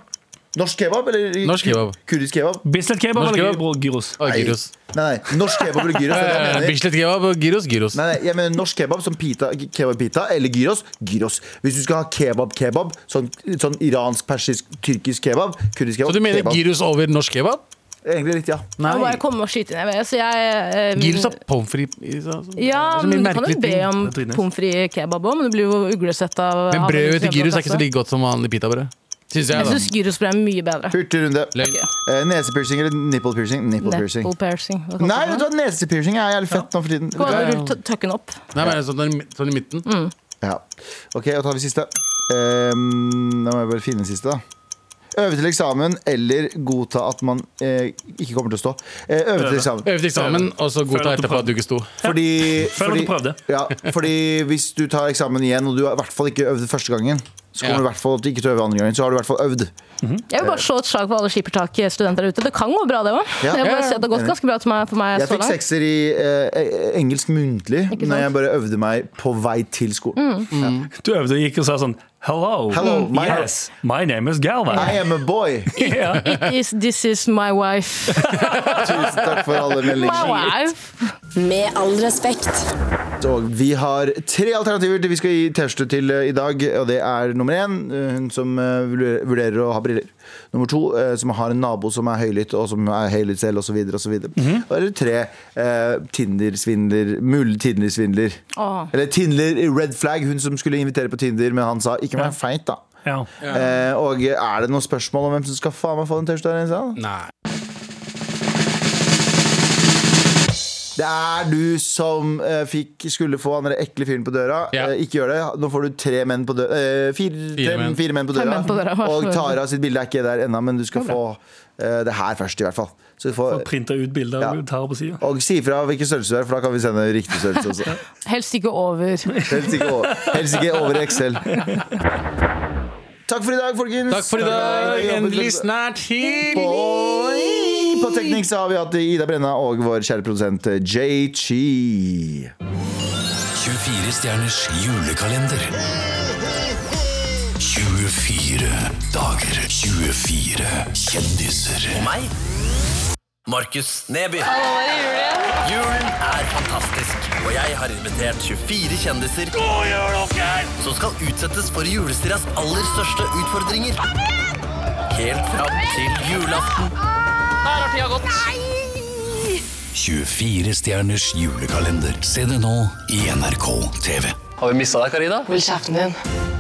Norsk kebab eller
Norsk kebab.
kurdisk kebab?
Bislett kebab
Norsk
eller
kebab?
gyro- gyros?
Og gyros.
Nei, nei. Norsk kebab eller gyros. det er det jeg
Eh,
mener.
Bislett kebab og gyros, gyros.
Nei, nei, jeg mener norsk kebab som pita, kebab pita eller gyros. Gyros. Hvis du skal ha kebab-kebab, sånn, sånn iransk, persisk, tyrkisk kebab, kurdisk kebab
Så du mener
kebab.
gyros over norsk kebab?
Egentlig litt, ja.
Jeg må bare komme og skyte inn. Jeg vet, så jeg, eh,
Gyros er pommes frites. så- så-
Ja,
så mye
men du kan jo
merkelig
be
ting.
om
Det er dritnice.
pommes frites kebab òg, men du blir jo uglesett av
Men
av
brødet
kebab
til gyros er ikke
også.
så like godt som vanlig pitabrød. Syns jeg,
Jeg
da.
syns gyrosbrød er mye bedre.
Hurtig runde.
Løgn.
Eh, nesepiercing eller nipple piercing? Nipple piercing.
Nipple piercing. Hva kaller
Nei,
man
vet du
det? sånn
hva, nesepiercing er jævlig fett nå for tiden.
Gå an å rulle t- tøkken opp.
Nei, men sånn, sånn i midten.
Mm.
Ja. Ok, da tar vi siste. Ehm, da må jeg bare finne den siste, da. Øve til eksamen eller godta at man eh, ikke kommer til å stå. Eh, øve til eksamen.
Øve til eksamen, og så godta
Føler at du
etterpå at
prøver.
du ikke sto.
Fordi,
Føler at du prøvde.
Ja, fordi hvis du tar eksamen igjen, og du i hvert fall ikke øvde første gangen, så kommer
Ja.
du i hvert fall til ikke til å øve andre gangen. Så har du i hvert fall øvd.
Jeg vil bare slå et slag for alle skippertak-studenter der ute. Det kan gå bra, det òg.
Ja.
Jeg vil
Ja,
bare si at det har gått ganske bra til meg, for meg
Jeg
så
fikk
langt.
sekser i eh, engelsk muntlig
Ikke sant?
når jeg bare øvde meg på vei til skolen.
Mm.
Du øvde og gikk og sa sånn Hello,
Hello, my-
yes, my name is Galvan.
I am a boy!
Ja.
It is, this is my wife.
Tusen takk for alle
My
meldinger.
wife.
Med all respekt.
Og vi har tre alternativer til vi skal gi T-skjorte til eh, i dag. Og det er nummer én, eh, hun som eh, vurderer- vurderer å ha briller. Nummer to, eh, som har en nabo som er høylytt, og som er høylytt selv, osv. osv. Eller tre, eh, Tinder-svindler. Mulig Tinder-svindler.
Åh.
Eller Tindler i red flag, hun som skulle invitere på Tinder, men han sa 'ikke vær feit', da.
Ja.
Eh, og er det noen spørsmål om hvem som skal faen meg få den T-skjorta? her i salen?
Nei.
Det er du som eh, fikk, skulle få han der ekle fyren på døra.
Ja.
Eh, ikke gjør det. Nå får du tre menn på døra. Eh, fire, tre,
menn.
fire menn på døra.
menn på døra, hva
Og
for-
Tara sitt bilde er ikke der ennå, men du skal få eh, det her først, i hvert fall. Så du får,
Printa ut bilder
Ja.
og tar på sida.
og si ifra hvilken størrelse du er, for da kan vi sende riktig størrelse også.
Helst ikke over.
Helst ikke over, helst ikke over i Excel. Takk for i dag, folkens.
Takk for i dag. Endelig snart
Boing!
helg!
På teknikk så har vi hatt Ida Brenna og vår kjære produsent eh, JG.
24 stjerners julekalender. 24 dager. 24 kjendiser. Og meg. Markus Neby. Julen er fantastisk, og jeg har invitert 24 kjendiser som skal utsettes for julestiras aller største utfordringer. Helt fram til julaften. 24 stjerners julekalender. Se det nå i NRK TV.
Har vi mista deg, Karina?
Hold kjeften din.